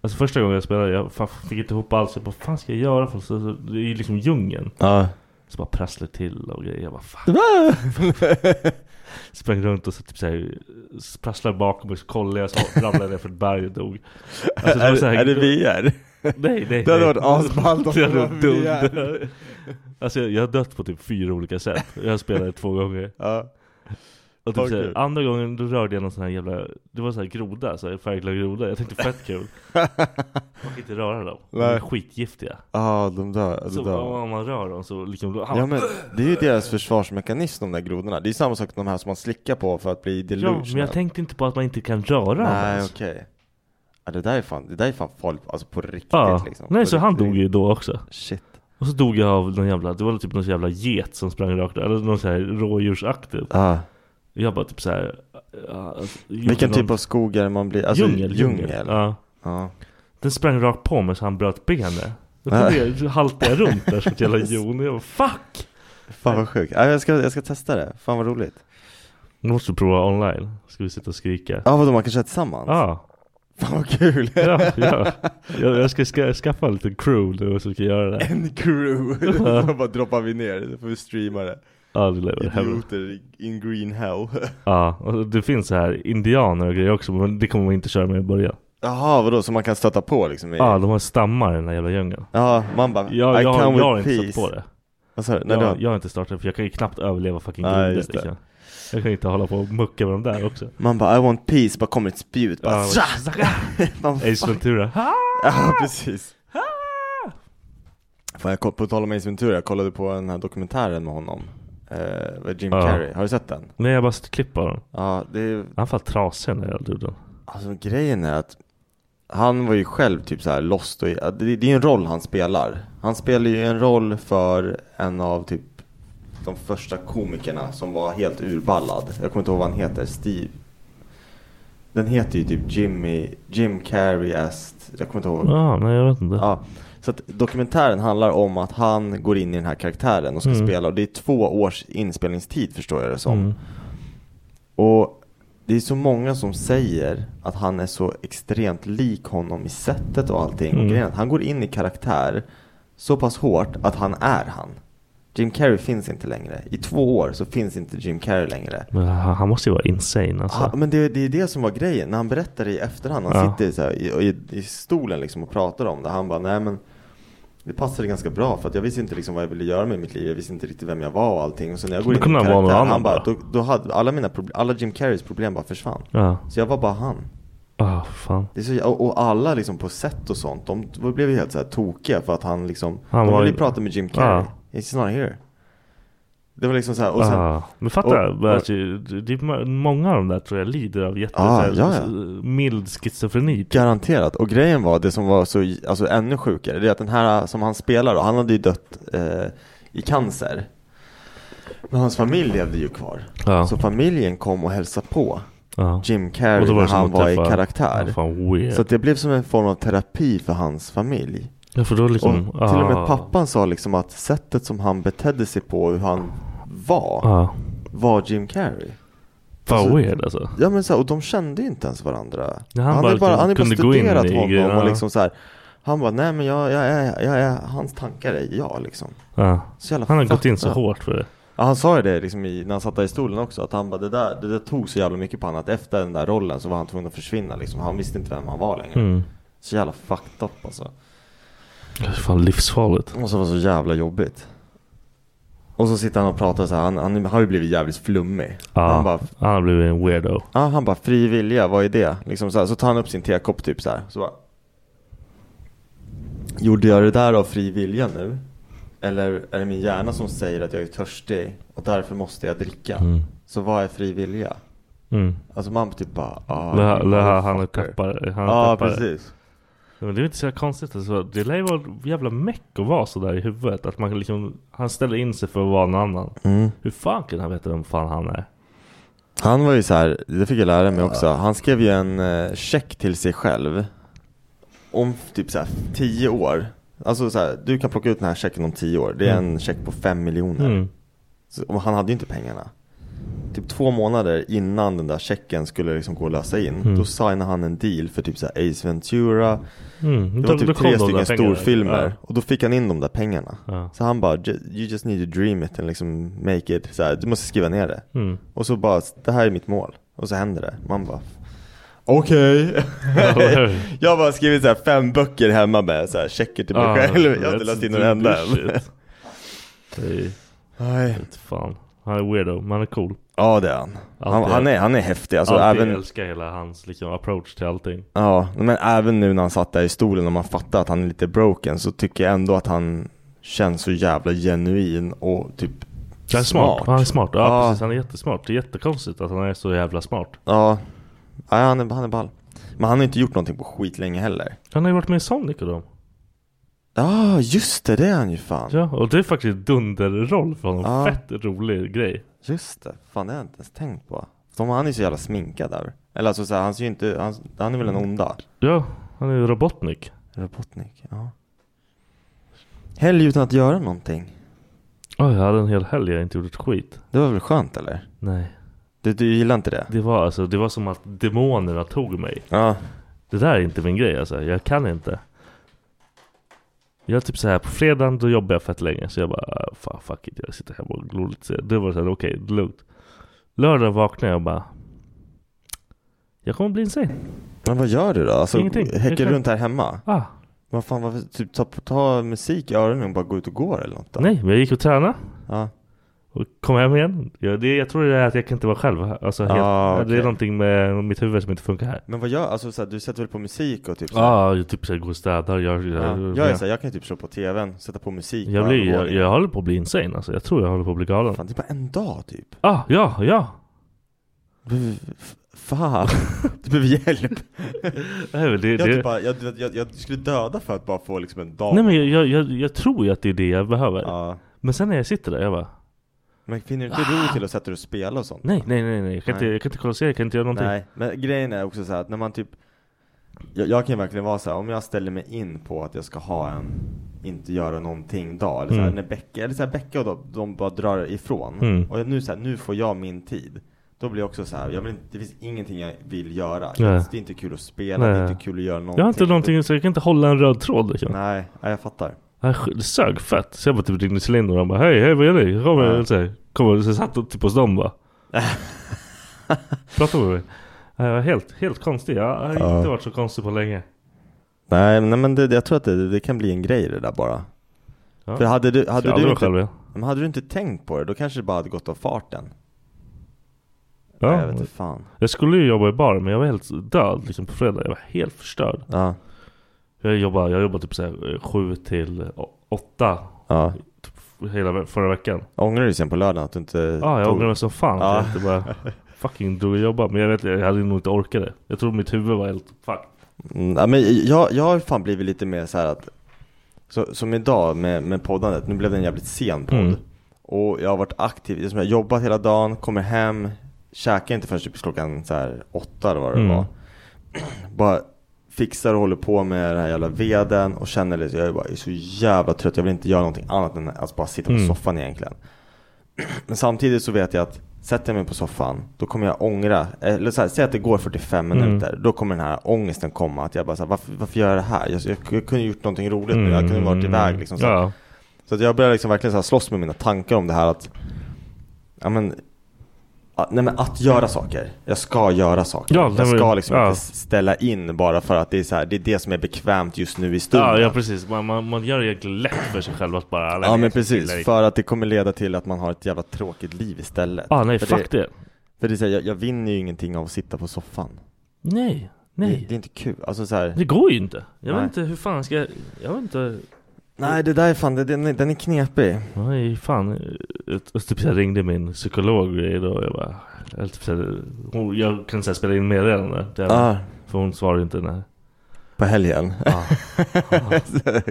Alltså första gången jag spelade, jag fan, fick inte ihop alls. Jag bara, fan ska jag göra? För så, så, det är ju liksom djungeln. Ja Så bara prasslar till och grejer. Jag bara, fan. Sprang runt och så typ så här, prasslar bakom mig. Så kollade jag, så ramlade jag ner för ett berg och dog. Alltså, är, var så här- är det VR? Nej, nej. Det hade nej. varit asballt om Det hade det varit var dumt. VR. Alltså jag, jag har dött på typ fyra olika sätt. Jag har spelat det två gånger. Ja Och typ Okej. såhär, andra gången då rörde jag någon sån här jävla Det var såhär groda, såhär färgglad groda Jag tänkte fett kul Man kan inte röra dem, de är Nej. skitgiftiga ah, de dör, de Så alltså, dör. om man rör dem så liksom då, Ja men det är ju deras försvarsmekanism de där grodorna. Det är ju samma sak som de här som man slickar på för att bli ja, delusional. men jag tänkte inte på att man inte kan röra dem Nej ens. okej. Ja, det där är fan, det där är fan farligt, alltså på riktigt ja. liksom. Nej på så han riktigt. dog ju då också Shit. Och så dog jag av någon jävla, det var typ någon jävla get som sprang rakt Eller någon såhär rådjursaktig Ah. Jag bara typ såhär ja, alltså, Vilken gjorde typ någon- av skog är det man blir? Alltså, djungel, djungel, Ja. Ja. Ah. Den sprang rakt på mig så han bröt benet Då kom jag- haltade jag runt där som ett jävla jon och jag bara, fuck! Fan vad sjukt. Ja, jag, ska, jag ska testa det, fan vad roligt. Nu måste vi prova online. Ska vi sitta och skrika? Ja ah, vadå man kan köra tillsammans? Ja, Fan vad kul! ja, ja. Jag, jag ska ska skaffa en liten crew nu som ska göra det. En crew! så bara droppar vi ner, så får vi streama det. Ja, det lever hemma. Idioter in green hell. Ja, och det finns så här indianer och grejer också, men det kommer man inte köra med i början. Jaha vadå, så man kan stöta på liksom? i- Ja, de har stammar i den där jävla djungeln. Ja, man bara Jag, I jag, come har- jag har with inte peace. satt på det. Vad sa du? Nej, Jag, du har- jag har inte startat, för jag kan ju knappt överleva fucking Nej, grodor. just det. liksom. Jag kan inte hålla på och mucka med dem där också. Man bara I want peace, bara kommer ett spjut bara Ja, ja, Man bara, Ace Ventura. Ah! ja precis Fan jag koll- på tal om Ace Ventura, jag kollade på den här dokumentären med honom eh, med Jim Ja. Carrey, har du sett den? Nej, jag bara klipper dem. Ja, det är, Han är fan trasig den där jävla duden. alltså grejen är att han var ju själv typ så här lost och, ja, det, det är ju en roll han spelar Han spelar ju en roll för en av typ de första komikerna som var helt urballad Jag kommer inte ihåg vad han heter, Steve Den heter ju typ Jimmy, Jim Carrey Ast, jag kommer inte ihåg. Ja, nej jag vet inte. Ja. Så att dokumentären handlar om att han går in i den här karaktären och ska Mm. spela och det är två års inspelningstid förstår jag det som. Mm. Och det är så många som säger att han är så extremt lik honom i sättet och allting. Mm. Och grejen är att han går in i karaktär så pass hårt att han är han. Jim Carrey finns inte längre. I två år så finns inte Jim Carrey längre. Men han, han måste ju vara insane alltså. Ah, men det, det är det som var grejen. När han berättar det i efterhand. Han Ja. sitter så här i, i, i stolen liksom och pratar om det. Han bara, nej men Alltså, det passade ganska bra för att jag visste inte liksom vad jag ville göra med mitt liv. Jag visste inte riktigt vem jag var och allting. Och sen när jag går Då in i kunde han vara någon karaktär, han annan bara, bara. då, då hade alla mina problem, alla Jim Carreys problem bara försvann. Ja. Så jag var bara han. Ah, fan. Det är så, och, och alla liksom på set och sånt, de blev ju helt så här tokiga för att han liksom, Han de var ville ju- ju prata med Jim Carrey. Ja. He's not here. Det var liksom så här, och sen, Ah, men fatta, och- och- alltså, det det är ma- många av de där tror jag lider av jätte, Ah, så här, ja, ja. mild schizofreni. typ. Garanterat. Och grejen var, det som var så alltså, ännu sjukare, det är att den här äh, som han spelar då, han hade ju dött eh, i cancer. Men hans familj levde ju kvar. Ja. Så familjen kom och hälsade på Ja. Jim Carrey Och då var det när som han att var i träffa- karaktär. Ja, fan, weird. så att det blev som en form av terapi för hans familj. Ja, för då liksom, och till och ah. med pappan sa liksom att sättet som han betedde sig på, hur han var, Ja. var Jim Carrey. Ah. Fan weird alltså. Ja men så här, och de kände ju inte ens varandra. Ja, han han, bara hade bara, liksom han hade bara kunde gå in studerat i honom grejerna. och liksom så här, Han bara, nej men jag, jag, är, jag är, hans tankar är jag liksom. Ja. Så jävla Han har gått fucked in så up. hårt för det. Ja, han sa ju det liksom i, när han satt där i stolen också, att han bara, det där, det där tog så jävla mycket på honom att efter den där rollen så var han tvungen att försvinna liksom. Han visste inte vem han var längre. Mm. Så jävla fucked up alltså. Det är fan livsfarligt. Och så var det så jävla jobbigt. Och så sitter han och pratar så här, han, han har ju blivit jävligt flummig. Ja. Han bara, Han har blivit en weirdo. Ja, han bara fri vilja, vad är det? Liksom så, här, så tar han upp sin tekopp typ så här. Så bara, Gjorde jag det där av fri vilja nu? Eller är det min hjärna som säger att jag är törstig och därför måste jag dricka? Mm. Så vad är fri vilja? Mm. Alltså man typ bara, ah, Det här- det här han motherfucker. tappar. Han Ja, tappar. precis. Men det är inte så jävla konstigt. Alltså. Det lär ju vara jävla meck att vara sådär i huvudet. Att man liksom, han ställer in sig för att vara någon annan. Mm. Hur fan kan han veta vem fan han är? Han var ju så här, det fick jag lära mig också. Han skrev ju en eh, check till sig själv. Om typ så här tio år. Alltså så här, du kan plocka ut den här checken om tio år. Det är Mm. en check på fem miljoner. Mm. Så, och han hade ju inte pengarna. Typ två månader innan den där checken skulle liksom gå att lösa in. Mm. Då signade han en deal för typ så här Ace Ventura. Mm. Det Då- var typ då kom tre de där stycken pengarna. storfilmer. Ja. Och då fick han in de där pengarna. Ja. Så han bara, "Ju- you just need to dream it and liksom make it. Så här, du måste skriva ner det. Mm. Och så bara, det här är mitt mål. Och så händer det. Man bara, okej. jag har bara skrivit så här fem böcker hemma med så här checker till mig Ja, själv. Jag har that's inte läst in en the enda än. bullshit. Det är- Nej. vet fan. Han är weirdo, men han är cool. Ja det är han. Han, Alltid. han, är, han är häftig. Alltså, Alltid även, älskar hela hans liksom, approach till allting. ja, men även nu när han satt där i stolen och man fattar att han är lite broken så tycker jag ändå att han känns så jävla genuin och typ Han är smart. smart. Han är smart. Ja, Ja. precis. Han är jättesmart. Det är jättekonstigt att han är så jävla smart. Ja, ja han, är, han är ball. Men han har inte gjort någonting på skit länge heller. Han har ju varit med i Sonic och dem. Ja, just det, det är han ju fan. Ja, och det är faktiskt dunderroll för honom. Ja. Fett rolig grej. Just det, fan det har jag inte ens tänkt på. De, han är så jävla sminkad där. Eller alltså så här, han ser ju inte, han, han är väl en onda. Ja, han är ju Robotnik. Robotnik, ja. Helg utan att göra någonting. Oj, jag hade en hel helg jag inte gjort ett skit. Det var väl skönt eller? Nej. Du, du gillar inte det? Det var alltså, det var som att demonerna tog mig. Ja. Det där är inte min grej alltså. Jag kan inte. Jag är typ så här på fredagen då jobbar jag fett länge. Så jag bara, ah, fan fuck it. Jag sitter hemma och glor lite. Så Det var så här, okej, det är lugnt. Lördag vaknar jag och bara. Jag kommer bli insane. Men vad gör du då? Alltså, Ingenting. Jag häcker kan- du runt här hemma? Ah, Vad fan, varför, typ ta, ta musik i öronen och bara gå ut och gå eller något då? nej, men jag gick och tränade. Ja. Och kom hem igen. Jag, det, jag tror det är att jag kan inte vara själv. Alltså, helt, Ah, Det är okej. någonting med mitt huvud som inte funkar här. Men vad gör, alltså så här, du sätter väl på musik och typ så här? Ja, jag typ så här, går och städar. Jag, Ja. jag, Jag är såhär, jag kan ju typ slå på tvn, sätta på musik jag, på blir, jag, övervåningen. jag håller på att bli insane alltså. Jag tror jag håller på att bli galen. Fan, det är bara liksom. en dag typ Ah, ja, ja. Du- f- Fan, du behöver hjälp Nej, men det, jag, det, typ bara, jag, jag, jag, jag skulle döda för att bara få liksom en dag nej men jag, jag, jag, jag tror ju att det är det jag behöver. ja. Men sen när jag sitter där, jag bara Men finner du inte ro till att sätta dig och spela och sånt? Nej, nej, nej, nej. Jag kan, Inte, jag kan inte kolla serier, jag kan inte göra någonting. Nej, men grejen är också så här att när man typ jag, jag kan ju verkligen vara så här, om jag ställer mig in på att jag ska ha en inte göra någonting dag eller så här, Mm. när Becka, eller så här, Becka och de, de bara drar ifrån Mm. och nu så här, nu får jag min tid. Då blir jag också så här, jag vill, inte- det finns ingenting jag vill göra. Nej. Det är inte kul att spela, det är Nej. inte kul att göra någonting. Jag har inte någonting, så jag kan inte hålla en röd tråd liksom. Nej, nej, jag fattar. Nej, sk- Det sög fett. Så jag bara typ ringde Celinder och de bara Hej, hej vad gör ni? Jag Kommer Ja. så här, kommer och så satt och typ hos dem bara. Prata med mig. Nej, Jag var helt, helt konstig. Jag har inte Ja. varit så konstig på länge. Nej, nej men det, jag tror att det, det kan bli en grej det där bara. Ja. För hade du, Ska hade du jag aldrig inte, vara själv igen? men hade du inte tänkt på det, då kanske det bara hade gått av farten. Nej, jag Ja. vet inte fan. Jag skulle ju jobba i bar men jag var helt död liksom på fredag. Jag var helt förstörd. Ja, Jag jobbade, jag jobbade typ så här, eh, sju till å- åtta typ ja. hela ve- förra veckan. Ångrar du sen på lördagen att du inte Ja, Ah, jag tog- ångrar mig som fan Ja. att jag inte bara fucking drog och jobbade. Men jag vet, jag hade nog inte orkat det. Jag tror mitt huvud var helt fuck. Mm, ja, men jag, jag har fan blivit lite mer så här att så, Som idag med, med poddandet, nu blev det en jävligt sen podd Mm. Och jag har varit aktiv, liksom jag har jobbat hela dagen, kommer hem Käkar inte förrän typ klockan så här åtta eller vad det Mm. var Bara fixar och håller på med den här jävla veden och känner liksom, jag är bara jag är så jävla trött Jag vill inte göra någonting annat än att bara sitta på Mm. soffan egentligen Men samtidigt så vet jag att Sätter jag mig på soffan, då kommer jag ångra, eller så här, säg att det går 45 Mm. minuter då kommer den här ångesten komma. Att jag bara så här, varför, varför gör jag det här? Jag, jag, jag kunde gjort någonting roligt nu. Jag kunde varit iväg liksom. Så, Mm. Ja. så att jag började liksom verkligen så här, slåss med mina tankar om det här att, ja men, att, nej men att göra saker. Jag ska göra saker. Ja, nej, jag ska men- liksom ja. inte ställa in bara för att det är så här, det är det som är bekvämt just nu i stunden. Ja, ja precis. Man, man, man gör det egentligen lätt för sig själv att bara... Ja, men Nej. precis, för att det kommer leda till att man har ett jävla tråkigt liv istället. ah, nej, för fuck det. För det är så här, jag, jag vinner ju ingenting av att sitta på soffan. Nej, Det, nej. det är inte kul. Alltså så här, Det går ju inte. Jag Nej. vet inte hur fan ska jag... Jag vet inte. Nej det där är fan, det- den är, den är knepig. Nej, fan. Jag, jag, typ, jag ringde min psykolog idag och jag bara... Jag, typ, så här- hon, jag kan säga spela in meddelande. där. Ja, För hon svarade inte när. Ah. på helgen. Ja.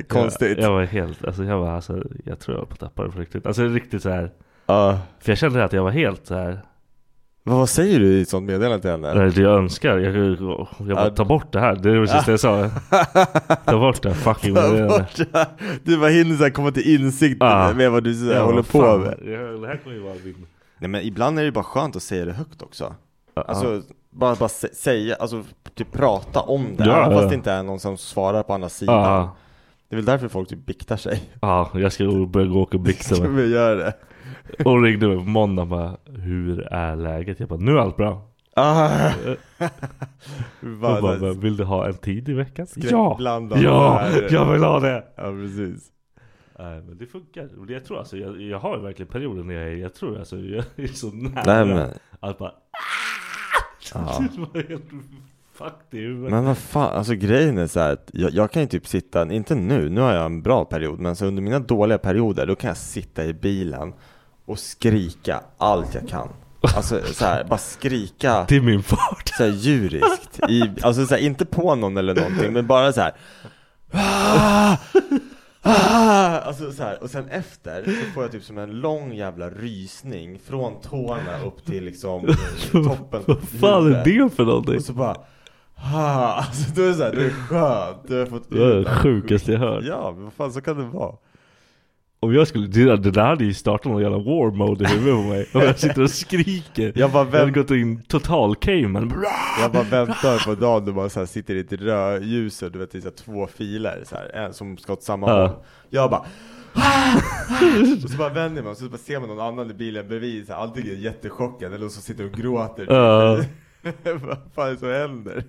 Konstigt. Jag, jag var helt... Alltså jag var alltså... Jag tror jag var på tapparen på riktigt. Alltså riktigt så här. Ja. För jag kände att jag var helt så här. Vad, vad säger du i ett sånt meddelande till henne? Nej, det jag önskar. Jag, jag bara, Ja. ta bort det här. Det är precis det jag sa. Ta bort det här fucking meddelandet. Du bara hinner så här komma till insikt Ah. Ja. med vad du så här Jag håller bara, på fan, med. jag- Det här kommer ju vara min... Nej men ibland är det bara skönt att säga det högt också. Alltså, Alltså, bara, bara sä- säga, alltså typ prata om det. Ja, även ja. fast det inte är någon som svarar på andra sidan. ja, Det är väl därför folk typ biktar sig. ja, Ah. jag ska börja gå och åka blixten. Ska vi göra det? Hon ringde mig på måndag och bara Hur är läget? Jag bara nu är allt bra. Ah. Hon bara, Bara, "Men vill du ha en tid i veckan? Skräckblandad. ja, Där. jag vill ha det! ja precis. Nej Eh, men det funkar. Men Jag tror alltså, jag, jag har ju verkligen perioder när jag är, jag tror alltså jag är så nära. Nej men, Att bara ja. Det var helt fucked i huvudet. Men vad fan, alltså grejen är så här att jag, jag kan ju typ sitta, inte nu, nu har jag en bra period, men så under mina dåliga perioder då kan jag sitta i bilen och skrika allt jag kan. Alltså så här, bara skrika Till min fart. så här djuriskt. I, alltså så här, inte på någon eller någonting, men bara så här. Alltså så här, och sen efter så får jag typ som en lång jävla rysning från tårna upp till liksom toppen på Vad fan huvudet. är det för någonting? Och så bara ha, alltså då är det såhär, det är skönt, du har fått Det är det ut allt sjukaste jag skit. hört. Ja, men vad fan så kan det vara Om jag skulle, det där- det där hade ju startat någon jävla war mode i huvudet på mig. Om jag sitter och skriker. Jag bara, Jag hade vänt, gått in total caveman. jag bara väntar på dagen då man så här sitter i ett rödljus och du vet det är så här två filer så här, en som ska åt samma Ja. håll Jag bara och så bara vänder man och så bara ser man någon annan i bilen bredvid så här, antingen är jättechockad eller så sitter och gråter Ja. Vad fan är det som händer?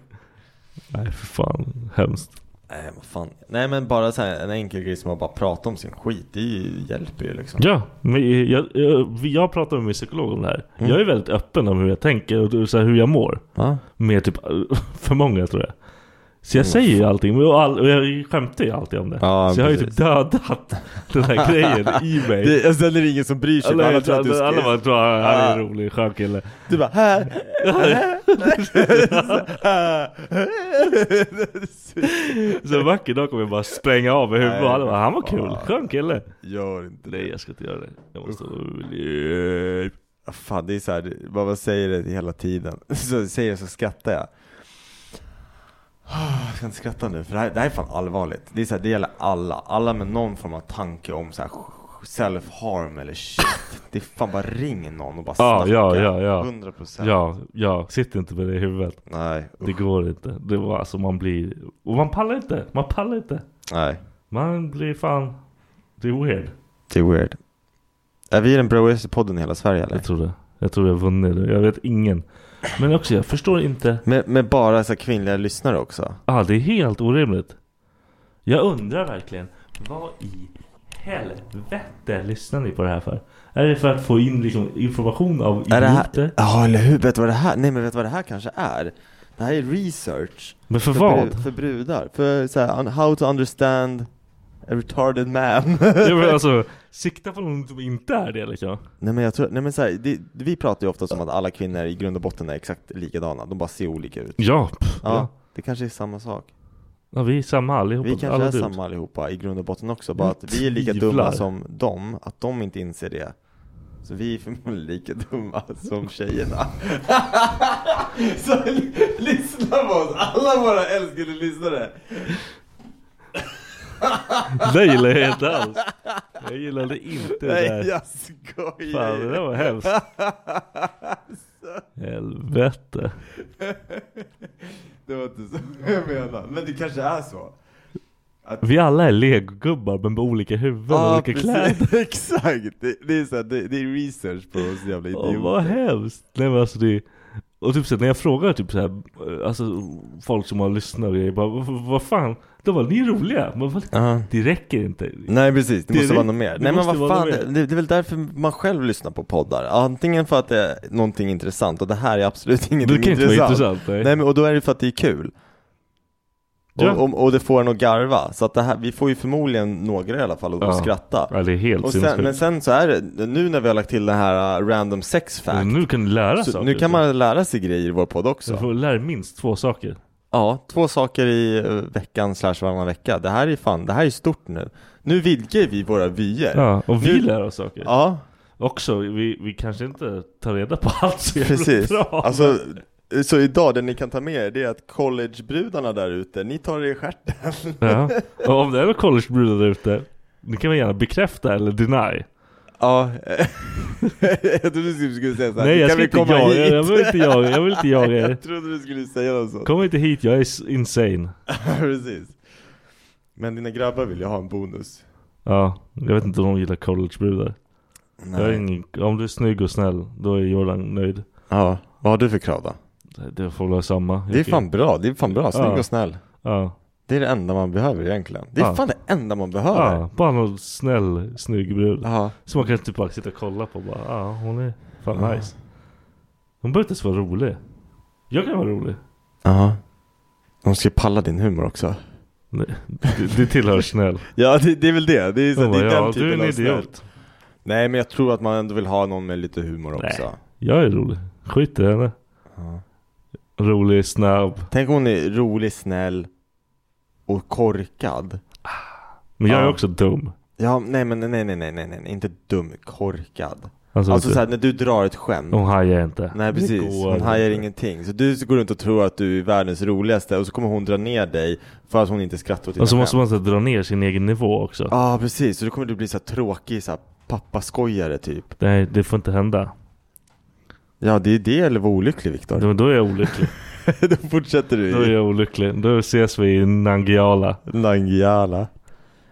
Nej för fan, hemskt. Nej vad fan Nej men bara så här, en enkel grej som att bara prata om sin skit, det ju- hjälper ju liksom Ja, men jag, jag, jag pratar med min psykolog om det här. Mm. Jag är väldigt öppen om hur jag tänker och så här, hur jag mår. Ja. Mm. Med typ för många tror jag. Så jag säger ju allting men- och, all, och jag skämtar ju alltid om det. Ja, så jag har ju typ precis. dödat den här grejen i mig. Det, och sen är det ingen som bryr sig, för alla, "Ah, alla tror att du Ah." alla ska... bara tror att han är en Ja. rolig skön kille. Du bara här, Så en vacker dag kommer jag bara spränga av med huvudet. Nej, Han bara, Han var fan. kul, skön kille. Gör inte Nej jag ska inte göra det. Jag måste Ulip. Ah, Fan det är såhär, bara man säger det hela tiden, så säger jag så skrattar jag. Ah, Jag ska inte skratta nu, för det här, det här är fan allvarligt. Det, är så här, det gäller alla, alla med någon form av tanke om så här self-harm eller shit. Det är fan bara ring någon och bara Ja, snacka. ja, ja, ja. 100%. Ja, ja, sitt inte med det i huvudet. Nej, Det går inte. Det var alltså man blir... Och man pallar inte. Man pallar inte. Nej, Man blir fan... Det är weird. det är weird. Är vi den broigaste podden i hela Sverige eller? Jag tror det. Jag tror jag vunnit. det. Jag vet ingen. Men också jag förstår inte. Med, med bara så här kvinnliga lyssnare också? Ah, det är helt orimligt. Jag undrar verkligen. Vad i helvete lyssnar ni på det här för? Är det för att få in liksom information av Är det idioter? här? Ja, eller hur? Vet du vad det här? Nej, men vet du vad det här kanske är? Det här är research. Men för bru- vad? För brudar. För så här, un- how to understand a retarded man. Jag menar alltså, sikta på någon som inte är det liksom. nej, men jag tror, nej, men så här, det, vi pratar ju ofta om att alla kvinnor i grund och botten är exakt likadana. De bara ser olika ut. Ja. Ja, Ja. det kanske är samma sak. ja vi är samma allihopa. Vi kanske Alla är du. samma allihopa i grund och botten också. Bara Jag att vi är lika tvivlar. dumma som dem. Att de inte inser det. Så vi är förmodligen lika dumma som tjejerna. Så l- lyssna på oss, alla våra älskade lyssnare! Det gillar jag inte alls. Jag gillade inte det där. Nej jag skojar! Fan det där var hemskt. Helvete. Det var inte så jag menade, men det kanske är så. Vi alla är legogubbar men med olika huvuden och olika kläder. Exakt! Det, det, är så här, det, det är research på oss jävla Åh idioter. vad hemskt. Nej men alltså det och typ så här, när jag frågar typ så här, eh, alltså folk som har lyssnat och grejer, bara, "Vad- vad fan, de bara ni är roliga, men vad, Ja. det räcker inte. Nej precis, det, Det måste är- vara något mer. det Nej men måste vad vara fan, något det, mer. det är väl därför man själv lyssnar på poddar. Antingen för att det är någonting intressant och det här är absolut ingenting Det kan inte intressant. vara intressant. Nej. Nej men och då är det för att det är kul. Ja. Och, och, och det får en att garva. Så att det här, vi får ju förmodligen några i alla fall att Ja. skratta. Ja, det är helt Och sen, men sinnessjukt. sen så är det, nu när vi har lagt till den här uh, random sex fact. Nu kan du lära så saker. nu kan man lära sig grejer i vår podd så. Du också. får lära minst två saker. Ja, två saker i eh, veckan slash varannan vecka. Det här är fan, det här är stort nu. Nu vidgar vi våra vyer. Ja, och vi Nu- lär oss saker. ja. Också, vi, vi kanske inte tar reda på allt så jävla Precis, bra. alltså så idag det ni kan ta med er det är att collegebrudarna där ute, ni tar er i stjärten Ja. Och om det är några collegebrudar där ute, ni kan väl gärna bekräfta eller deny? Ja, jag trodde du skulle säga såhär, Nej jag ska inte jaga er, jag vill inte jaga er, jag vill inte jaga er. Jag trodde du skulle säga något sånt Kom inte hit, jag är s- insane. Precis Men dina grabbar vill ju ha en bonus Ja, jag vet inte om de gillar collegebrudar. Jag är ingen, om du är snygg och snäll, då är Jordan nöjd. Ja, vad har du för krav då? Det- Det får väl vara samma. Det är fan bra, det är fan bra, snygg Ja. och snäll Ja. Det är det enda man behöver egentligen Det är Ja. fan det enda man behöver ja, bara någon snäll, snygg brud. Ja, Som man kan typ bara sitta och kolla på och bara, ja ah, hon är fan nice. Hon behöver inte ens vara rolig. Jag kan vara rolig. ja De ska ju palla din humor också Nej, det, det tillhör snäll. Ja det, det är väl det, det är, så, Hon det är bara, den ja typen du är en av snäll. idiot. Nej men jag tror att man ändå vill ha någon med lite humor också Jag är rolig. Skit i henne. Rolig, snabb. Tänk om hon är rolig, snäll och korkad Men jag är Ja. också dum. Ja nej men nej nej nej nej, nej inte dum, korkad Alltså, Alltså vet du, såhär när du drar ett skämt hon hajar inte. Nej precis, hon hajar ingenting Så du går runt och tror att du är världens roligaste och så kommer hon dra ner dig för att hon inte skrattar åt dina Och så måste skämt man så här dra ner sin egen nivå också. Ja precis, så då kommer du bli så här tråkig så här pappaskojare typ Nej, det får inte hända. Ja det är det eller vara olycklig Viktor Då, då är jag olycklig. Då fortsätter du Då är jag olycklig. Då ses vi i Nangiala. Nangiala.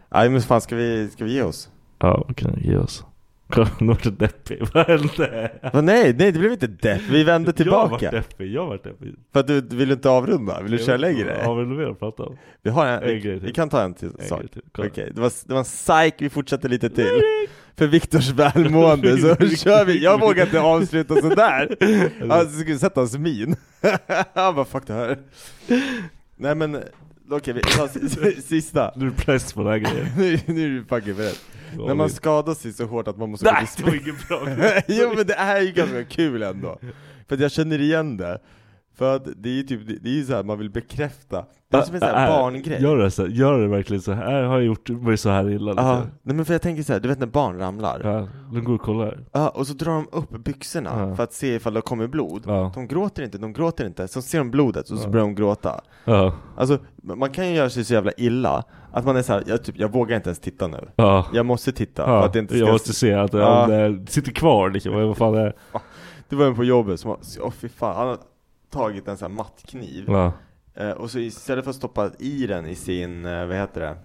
Nej men fan ska vi, ska vi ge oss? Ja, vad kan jag ge oss? Kolla, Nu vart det deppig. Vad hände? Va, nej, nej det blev inte depp, vi vände Jag vart tillbaka. deppig. Jag vart deppig. För att du, du vill inte avrunda, vill du köra Ja, längre? vad är det mer att prata om? Vi har en, En grej vi, till. vi kan ta en till En sak. grej till. Kolla. Okej, det, var, det var en psyk, vi fortsätter lite till. För Viktors välmående så kör vi, jag vågar inte avsluta sådär. Han skulle sätta hans min. Han bara fuck det här. Nej men, okej vi tar si- sista. Nu är det press på den här grejen. Nu, nu är du fucking beredd. När man skadar sig så hårt att man måste gå Nej, till det var inget bra. jo men det är ju ganska kul ändå. För att jag känner igen det. För att det är ju typ, det- det är ju såhär man vill bekräfta Det är som en sån här Äh, barngrej Gör det, så, gör det verkligen så här? Har jag gjort mig så här illa? Ja, Liksom. nej men för jag tänker så här, du vet när barn ramlar? Ja, de går och kollar. Ja, och så drar de upp byxorna Ja. för att se ifall det kommer blod. Ja. De gråter inte, de gråter inte. Så ser de blodet och så Ja. börjar de gråta. Ja. Alltså, man kan ju göra sig så jävla illa att man är så här, jag, typ, jag vågar inte ens titta nu. Ja. Jag måste titta. Ja, för att det inte jag ska- måste se att Ja. han eh, sitter kvar liksom. Vad fan är Det var en på jobbet som, var- åh fy fan, han har tagit en sån här mattkniv. Ja. Eh, och så istället för att stoppa i den i sin, eh, vad heter det?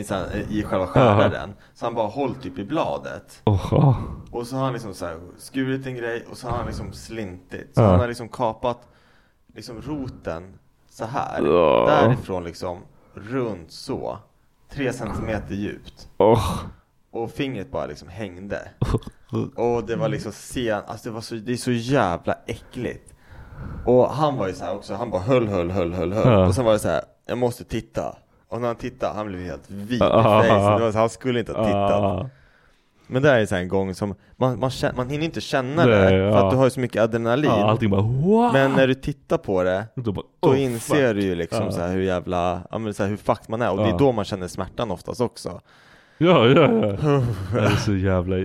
I, sån- i själva skäraren. Så han bara hållit typ i bladet. Oha. Och så har han liksom så här skurit en grej och så har han liksom slintit. Så Ja. han har liksom kapat liksom roten så här. Ja. Därifrån liksom runt så. Tre centimeter djupt. Oh. Och fingret bara liksom hängde. Och det var liksom sen, alltså det var så, det är så jävla äckligt. Och han var ju så här också, han bara höll, höll, höll, höll, höll. Ja. Och sen var det så här, jag måste titta. Och när han tittade, han blev helt vit i Ah. face. Det var så, han skulle inte ha tittat. Ah. Men det här är så här en gång som man, man, känner, man hinner inte känna det Nej, för ja. att du har ju så mycket adrenalin. Ja, allting bara wow. Men när du tittar på det Då bara, då oh, inser fuck. du ju liksom Ja. så här hur jävla, ja men så här hur fucked man är och det Ja. är då man känner smärtan oftast också. Ja, ja, ja. Det är så jävla...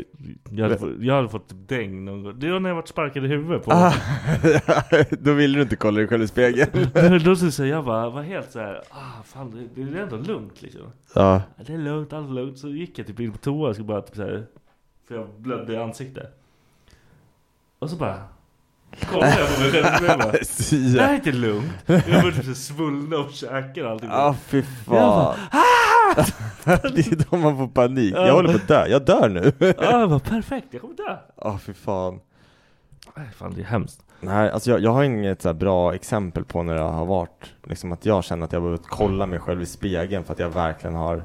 Jag hade, fått- jag hade fått typ däng någon gång. Det var när jag vart sparkad i huvudet på... Ah. då vill du inte kolla dig själv i spegeln. Då- Då så säger jag bara, var helt så här, ah fan det, det är ändå lugnt liksom. Ja. Ja, Det är lugnt, allt är lugnt. Så gick jag typ in på toa och skulle bara typ så här, för jag blödde i ansiktet. Och så bara, kollar jag på mig själv och jag bara, det här är inte lugnt. Jag började typ så här svullna och käkar och allting. Ja fy fan. det är då man får panik. Ja. Jag håller på att dö, jag dör nu. Ja, jag bara, perfekt, jag kommer dö. Ja fy fan. Nej, fan det är hemskt. Nej, alltså jag, jag har inget så här bra exempel på när det har varit liksom att jag känner att jag behövt kolla mig själv i spegeln för att jag verkligen har